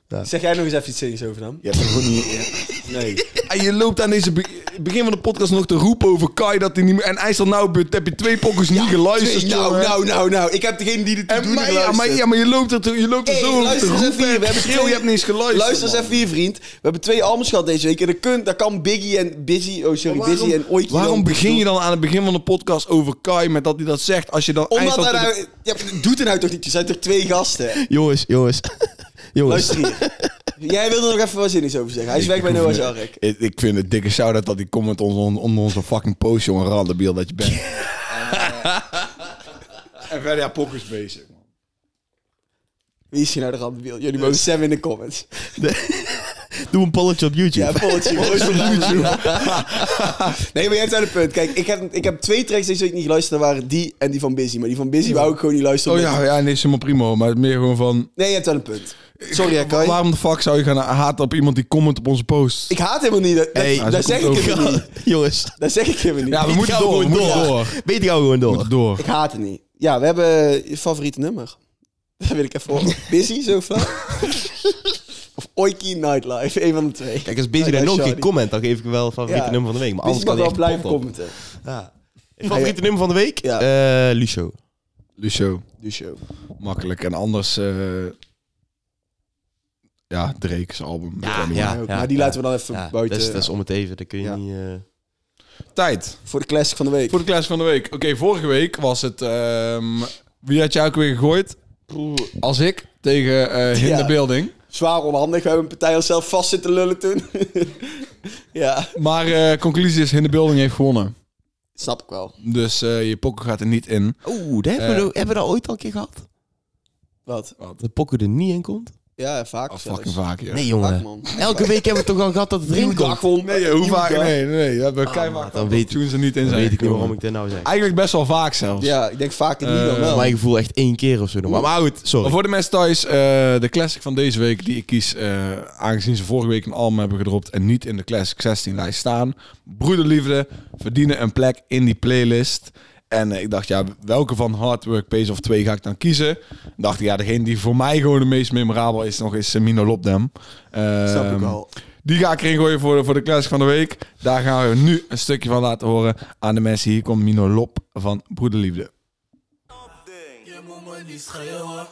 S2: grappig. Zeg jij nog eens even iets serieus over dan?
S1: Ja, dat is gewoon niet-
S2: Nee.
S1: En Ah, je loopt aan deze be- begin van de podcast nog te roepen over Kai dat hij niet meer... En IJssel nou heb je twee pokkers niet geluisterd,
S2: nou,
S1: jongen.
S2: nou, nou, nou. Ik heb degene die dit te
S1: En
S2: doen
S1: maar, ja, maar, ja, maar je loopt er, te- je loopt er
S2: Hey,
S1: zo over te
S2: luister eens
S1: roepen.
S2: even hier. We hebben
S1: Schreeuw,
S2: twee-
S1: je hebt niet eens geluisterd.
S2: Luister eens
S1: man.
S2: even hier, vriend. We hebben twee albums gehad deze week. En dan kun, daar kan Biggie en Busy... Oh, sorry,
S1: Waarom-
S2: Busy en Oikje...
S1: Waarom
S2: dan-
S1: begin je dan aan het begin van de podcast over Kai met dat hij dat zegt? Als je dan
S2: Omdat
S1: IJssel
S2: hij
S1: te-
S2: nou... Ja, doet er nou toch niet. Er zijn toch twee gasten.
S3: Jongens, jongens. [LAUGHS] jongens.
S2: Luister hier.
S1: [LAUGHS]
S2: Jij wilde er nog even wat zinnigs over zeggen. Hij is weg bij Noah's Ark.
S1: Ik, ik vind het dikke shout-out dat die comment onder, on- onder onze fucking post, jongen. Randebiel dat je
S2: [LAUGHS]
S1: bent. en verder, ja, pokkers bezig.
S2: Wie is hier nou de randbeeld? Jullie mogen Sam in de comments.
S3: Doe een polletje op YouTube. [LAUGHS]
S2: Ja, volgens YouTube. [LAUGHS] nee, maar jij hebt wel een punt. Kijk, ik heb, ik heb twee tracks deze week niet geluisterd. Dat waren die en die van Busy. Maar die van Busy wou ik gewoon niet luisteren.
S1: Oh
S2: omdat-
S1: ja, ja, nee, is helemaal prima. Maar meer gewoon van...
S2: Nee, je hebt wel een punt. Sorry, hè, Kai.
S1: Waarom de fuck zou je gaan haten op iemand die comment op onze post?
S2: Ik haat helemaal niet. Dat,
S3: Hey,
S2: dat,
S1: hij
S2: dat
S1: is
S2: zeg
S1: ook
S2: ik
S1: goed
S2: helemaal niet.
S3: jongens.
S2: Dat zeg ik helemaal niet.
S1: Ja, we
S3: Ik
S1: moeten
S3: ga
S1: door, we
S3: gewoon
S1: moeten
S3: door.
S1: door.
S3: Weet ik jou gewoon door.
S1: Moeten door.
S2: Ik haat het niet. Ja, we hebben je favoriete nummer. [LAUGHS] Dat wil ik even horen. Busy, zo flauw. of Oiki Nightlife. Een van de twee.
S3: Kijk, als busy
S2: Ja,
S3: dan ook
S2: sorry.
S3: die comment, dan geef ik hem wel favoriete
S2: Ja.
S3: nummer van de week. Maar
S2: Busy
S3: anders
S2: mag
S3: kan
S2: wel
S3: hij
S2: blijven
S3: echt de pot op.
S2: commenten.
S3: Ja. Favoriete nummer van de week?
S2: Ja.
S3: Eh, Lucio.
S1: Lucio,
S2: De show.
S1: makkelijk. En anders... eh, ja, Drake's album. Twenty One.
S2: Ja, ook. maar die laten we dan even
S3: Ja, dus
S2: buiten.
S3: Dat is, dat is om het even, dat kun je
S2: Ja.
S3: niet... eh,
S1: Tijd.
S2: Voor de classic van de week.
S1: Voor de classic van de week. Oké, vorige week was het... ehm, wie had jou ook weer gegooid? Als ik. Tegen eh Hinder
S2: Ja.
S1: Building.
S2: Zwaar onhandig. We hebben een partij onszelf vast zitten lullen toen. [LAUGHS] ja,
S1: Maar eh, conclusie is, Hinder Building heeft gewonnen.
S2: snap ik wel.
S1: Dus eh, je pokken gaat er niet in.
S3: Oeh, dat hebben,
S1: Eh.
S3: we, hebben we dat ooit al een keer gehad?
S2: Wat?
S3: Dat Poco er niet in komt?
S2: Ja, vaak.
S1: Oh,
S2: zelfs.
S1: fucking vaak, eh. ja.
S3: Nee,
S2: Vaak,
S3: jongen.
S2: man.
S3: Elke week hebben we toch al gehad dat het erin
S2: Nieuw
S3: komt?
S2: dag, hond.
S1: Nee, hoe
S2: Nieuw
S1: vaak?
S2: dag.
S1: Nee, nee, nee. We hebben
S3: Ah,
S1: keihard
S3: dan weet ik-
S1: tunes er niet in
S3: Dan
S1: zijn.
S3: weet ik niet
S1: gekomen.
S3: waarom ik dit nou zeg.
S1: Eigenlijk best wel vaak zelfs.
S2: Ja, ik denk vaak niet dan
S1: Eh,
S2: wel.
S3: Voor mijn gevoel echt één keer of zo. nog. Maar, maar goed,
S1: Maar
S3: sorry.
S1: voor de mensen thuis, eh, de classic van deze week die ik kies, eh, aangezien ze vorige week een album hebben gedropt en niet in de classic 16 lijst staan. Broederliefde verdienen een plek in die playlist. En eh, ik dacht, ja, welke van Hard Work Pays of 2 ga ik dan kiezen? Dacht ik, ja, degene die voor mij gewoon de meest memorabel is nog is eh, Semino Lopdem. Uh,
S2: Snap ik wel.
S1: Die ga ik erin gooien voor de, voor de classic van de week. Daar gaan we nu een stukje van laten horen aan de mensen. Hier komt Mino Lop van Broederliefde.
S6: Je moet me niet schreeuwen.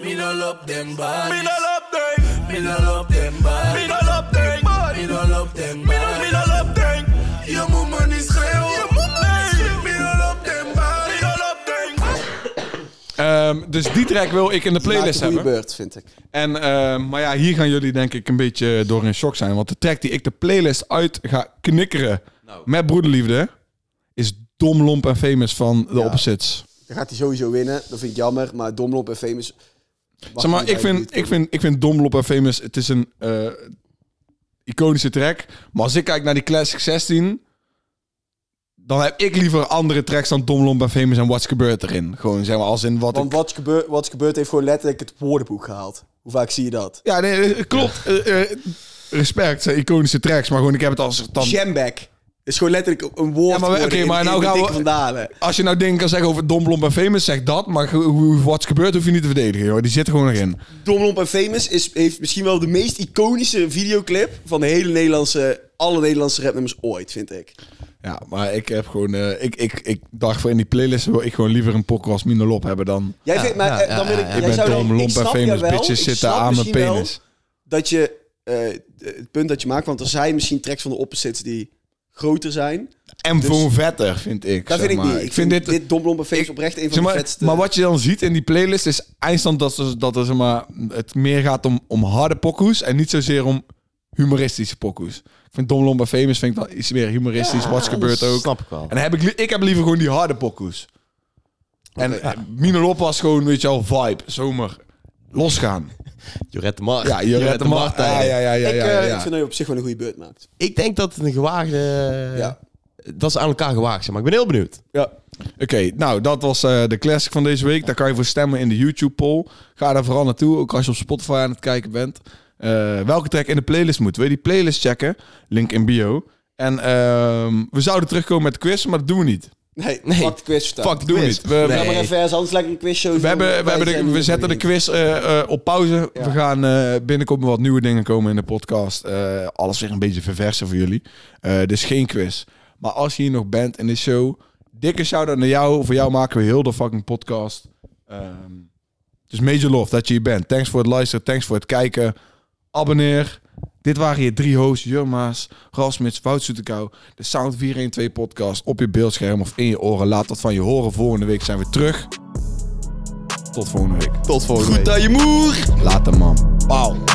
S6: Minol op den bar. Minol op den. Minol op den bar. Minol op den bar. Minol op den bar. Minol op den. Je moet me niet schreeuwen. Je moet me niet schreeuwen. Minol op den bar. Minol op den bar.
S1: Ehm, dus die track wil ik in de playlist
S2: Maakt een
S1: hebben.
S2: goede beurt, vind ik.
S1: En, eh, maar ja, hier gaan jullie denk ik een beetje door in shock zijn. Want de track die ik de playlist uit ga knikkeren
S2: Nou.
S1: met broederliefde... is Dom Lomp en Famous van de Opposites.
S2: Dan gaat hij sowieso winnen. Dat vind ik jammer. Maar Domlop en Famous...
S1: Zeg maar, ik vind, ik, vind, ik vind Dom Lomp en Famous... het is een eh, iconische track. Maar als ik kijk naar die Classic 16... dan heb ik liever andere tracks dan Dom Lomp en Famous en What's Gebeurd erin. Gewoon zeg maar, als in wat ik-
S2: Want wat gebeurt, wat gebeurt heeft gewoon letterlijk het woordenboek gehaald. Hoe vaak zie je dat?
S1: Ja, nee, eh, klopt. Eh, eh, respect, zijn iconische tracks. Maar gewoon, ik heb het als... Dan,
S2: Jamback. is gewoon letterlijk een woord.
S1: Ja, maar we-
S2: geworden
S1: oké,
S2: in-
S1: maar
S2: in
S1: nou
S2: de
S1: gaan
S2: dikke
S1: we-
S2: Van Dalen.
S1: Als je nou dingen kan zeggen over Dom Blom en Famous, zeg dat. Maar ge- hoe, wat is gebeurd, hoef je niet te verdedigen, joh. Die zit er gewoon nog in.
S2: Domlomp en Famous is, heeft misschien wel de meest iconische videoclip van de hele Nederlandse, alle Nederlandse rapnummers ooit, vind ik.
S1: Ja, maar ik heb gewoon... eh, ik, ik, ik dacht voor in die playlist wil ik gewoon liever een pokker als Mino Lop hebben dan...
S2: Jij
S3: Ja,
S2: vindt, maar
S3: ja,
S2: eh,
S3: ja,
S2: dan wil ik,
S3: ja, ja.
S2: jij
S3: Ik
S1: ben
S2: zou dan-
S1: Dom Lomp
S2: ik
S1: en
S2: snap
S1: Famous,
S2: jou wel,
S1: bitches
S2: ik
S1: zitten
S2: snap
S1: aan mijn
S2: misschien wel
S1: penis.
S2: Dat je eh, het punt dat je maakt, want er zijn misschien tracks van de opposites die groter zijn.
S1: En gewoon vetter, vind ik.
S2: Dus Dat
S1: zeg
S2: vind ik
S1: maar.
S2: niet. Ik vind dit, dit Domblombeface
S1: ik-
S2: oprecht een van
S1: zeg maar,
S2: de vetste...
S1: Maar wat je dan ziet in die playlist is eindstand dat, ze- dat er, zeg maar, het meer gaat om, om harde pokoes en niet zozeer om humoristische pokoes. Ik vind Dom Lomba Famous vind ik dan iets meer humoristisch. wat gebeurt
S3: dat
S1: ook.
S3: snap ik wel.
S1: En dan heb ik, li- ik heb liever gewoon die harde pokoes. En eh, Mino Lop was gewoon, weet je wel, vibe, zomer, losgaan.
S3: Jorette Mart.
S1: Ja, je redt de macht. Ja, ja, ja, ja,
S2: ik,
S1: ja,
S2: eh,
S1: ja.
S2: ik vind dat je op zich wel een goede beurt maakt.
S3: Ik denk dat het een gewaagde...
S2: Ja.
S3: Dat is aan elkaar gewaagd zijn, maar ik ben heel benieuwd.
S2: Ja.
S1: Oké, nou dat was eh, de classic van deze week. Daar kan je voor stemmen in de YouTube poll. Ga daar vooral naartoe, ook als je op Spotify aan het kijken bent. Eh, welke track in de playlist moet? Wil je die playlist checken? Link in bio. En ehm, we zouden terugkomen met de quiz, maar dat doen we niet.
S2: Nee,
S3: Nee.
S2: fuck de quiz vertaan.
S1: Fuck, doen we
S3: quiz.
S1: niet. We,
S2: We hebben
S1: we,
S2: maar een vers, anders lijkt een quizshow.
S1: we hebben, we, hebben de- we zetten de quiz eh, eh, op pauze. We gaan eh, binnenkort wat nieuwe dingen komen in de podcast. Eh, alles weer een beetje verversen voor jullie. Eh dus geen quiz. Maar als je hier nog bent in de show, dikke shout-out naar jou. Voor jou maken we heel de fucking podcast. Ehm, dus major love dat je hier bent. Thanks voor het luisteren. Thanks voor het kijken. Abonneer. Dit waren je drie hosts. Jurma's, Rasmits, Wout Soetekou. De Sound 412 podcast op je beeldscherm of in je oren. Laat dat van je horen. Volgende week zijn we terug. Tot volgende week.
S3: Tot volgende week.
S1: Later, man. Pauw.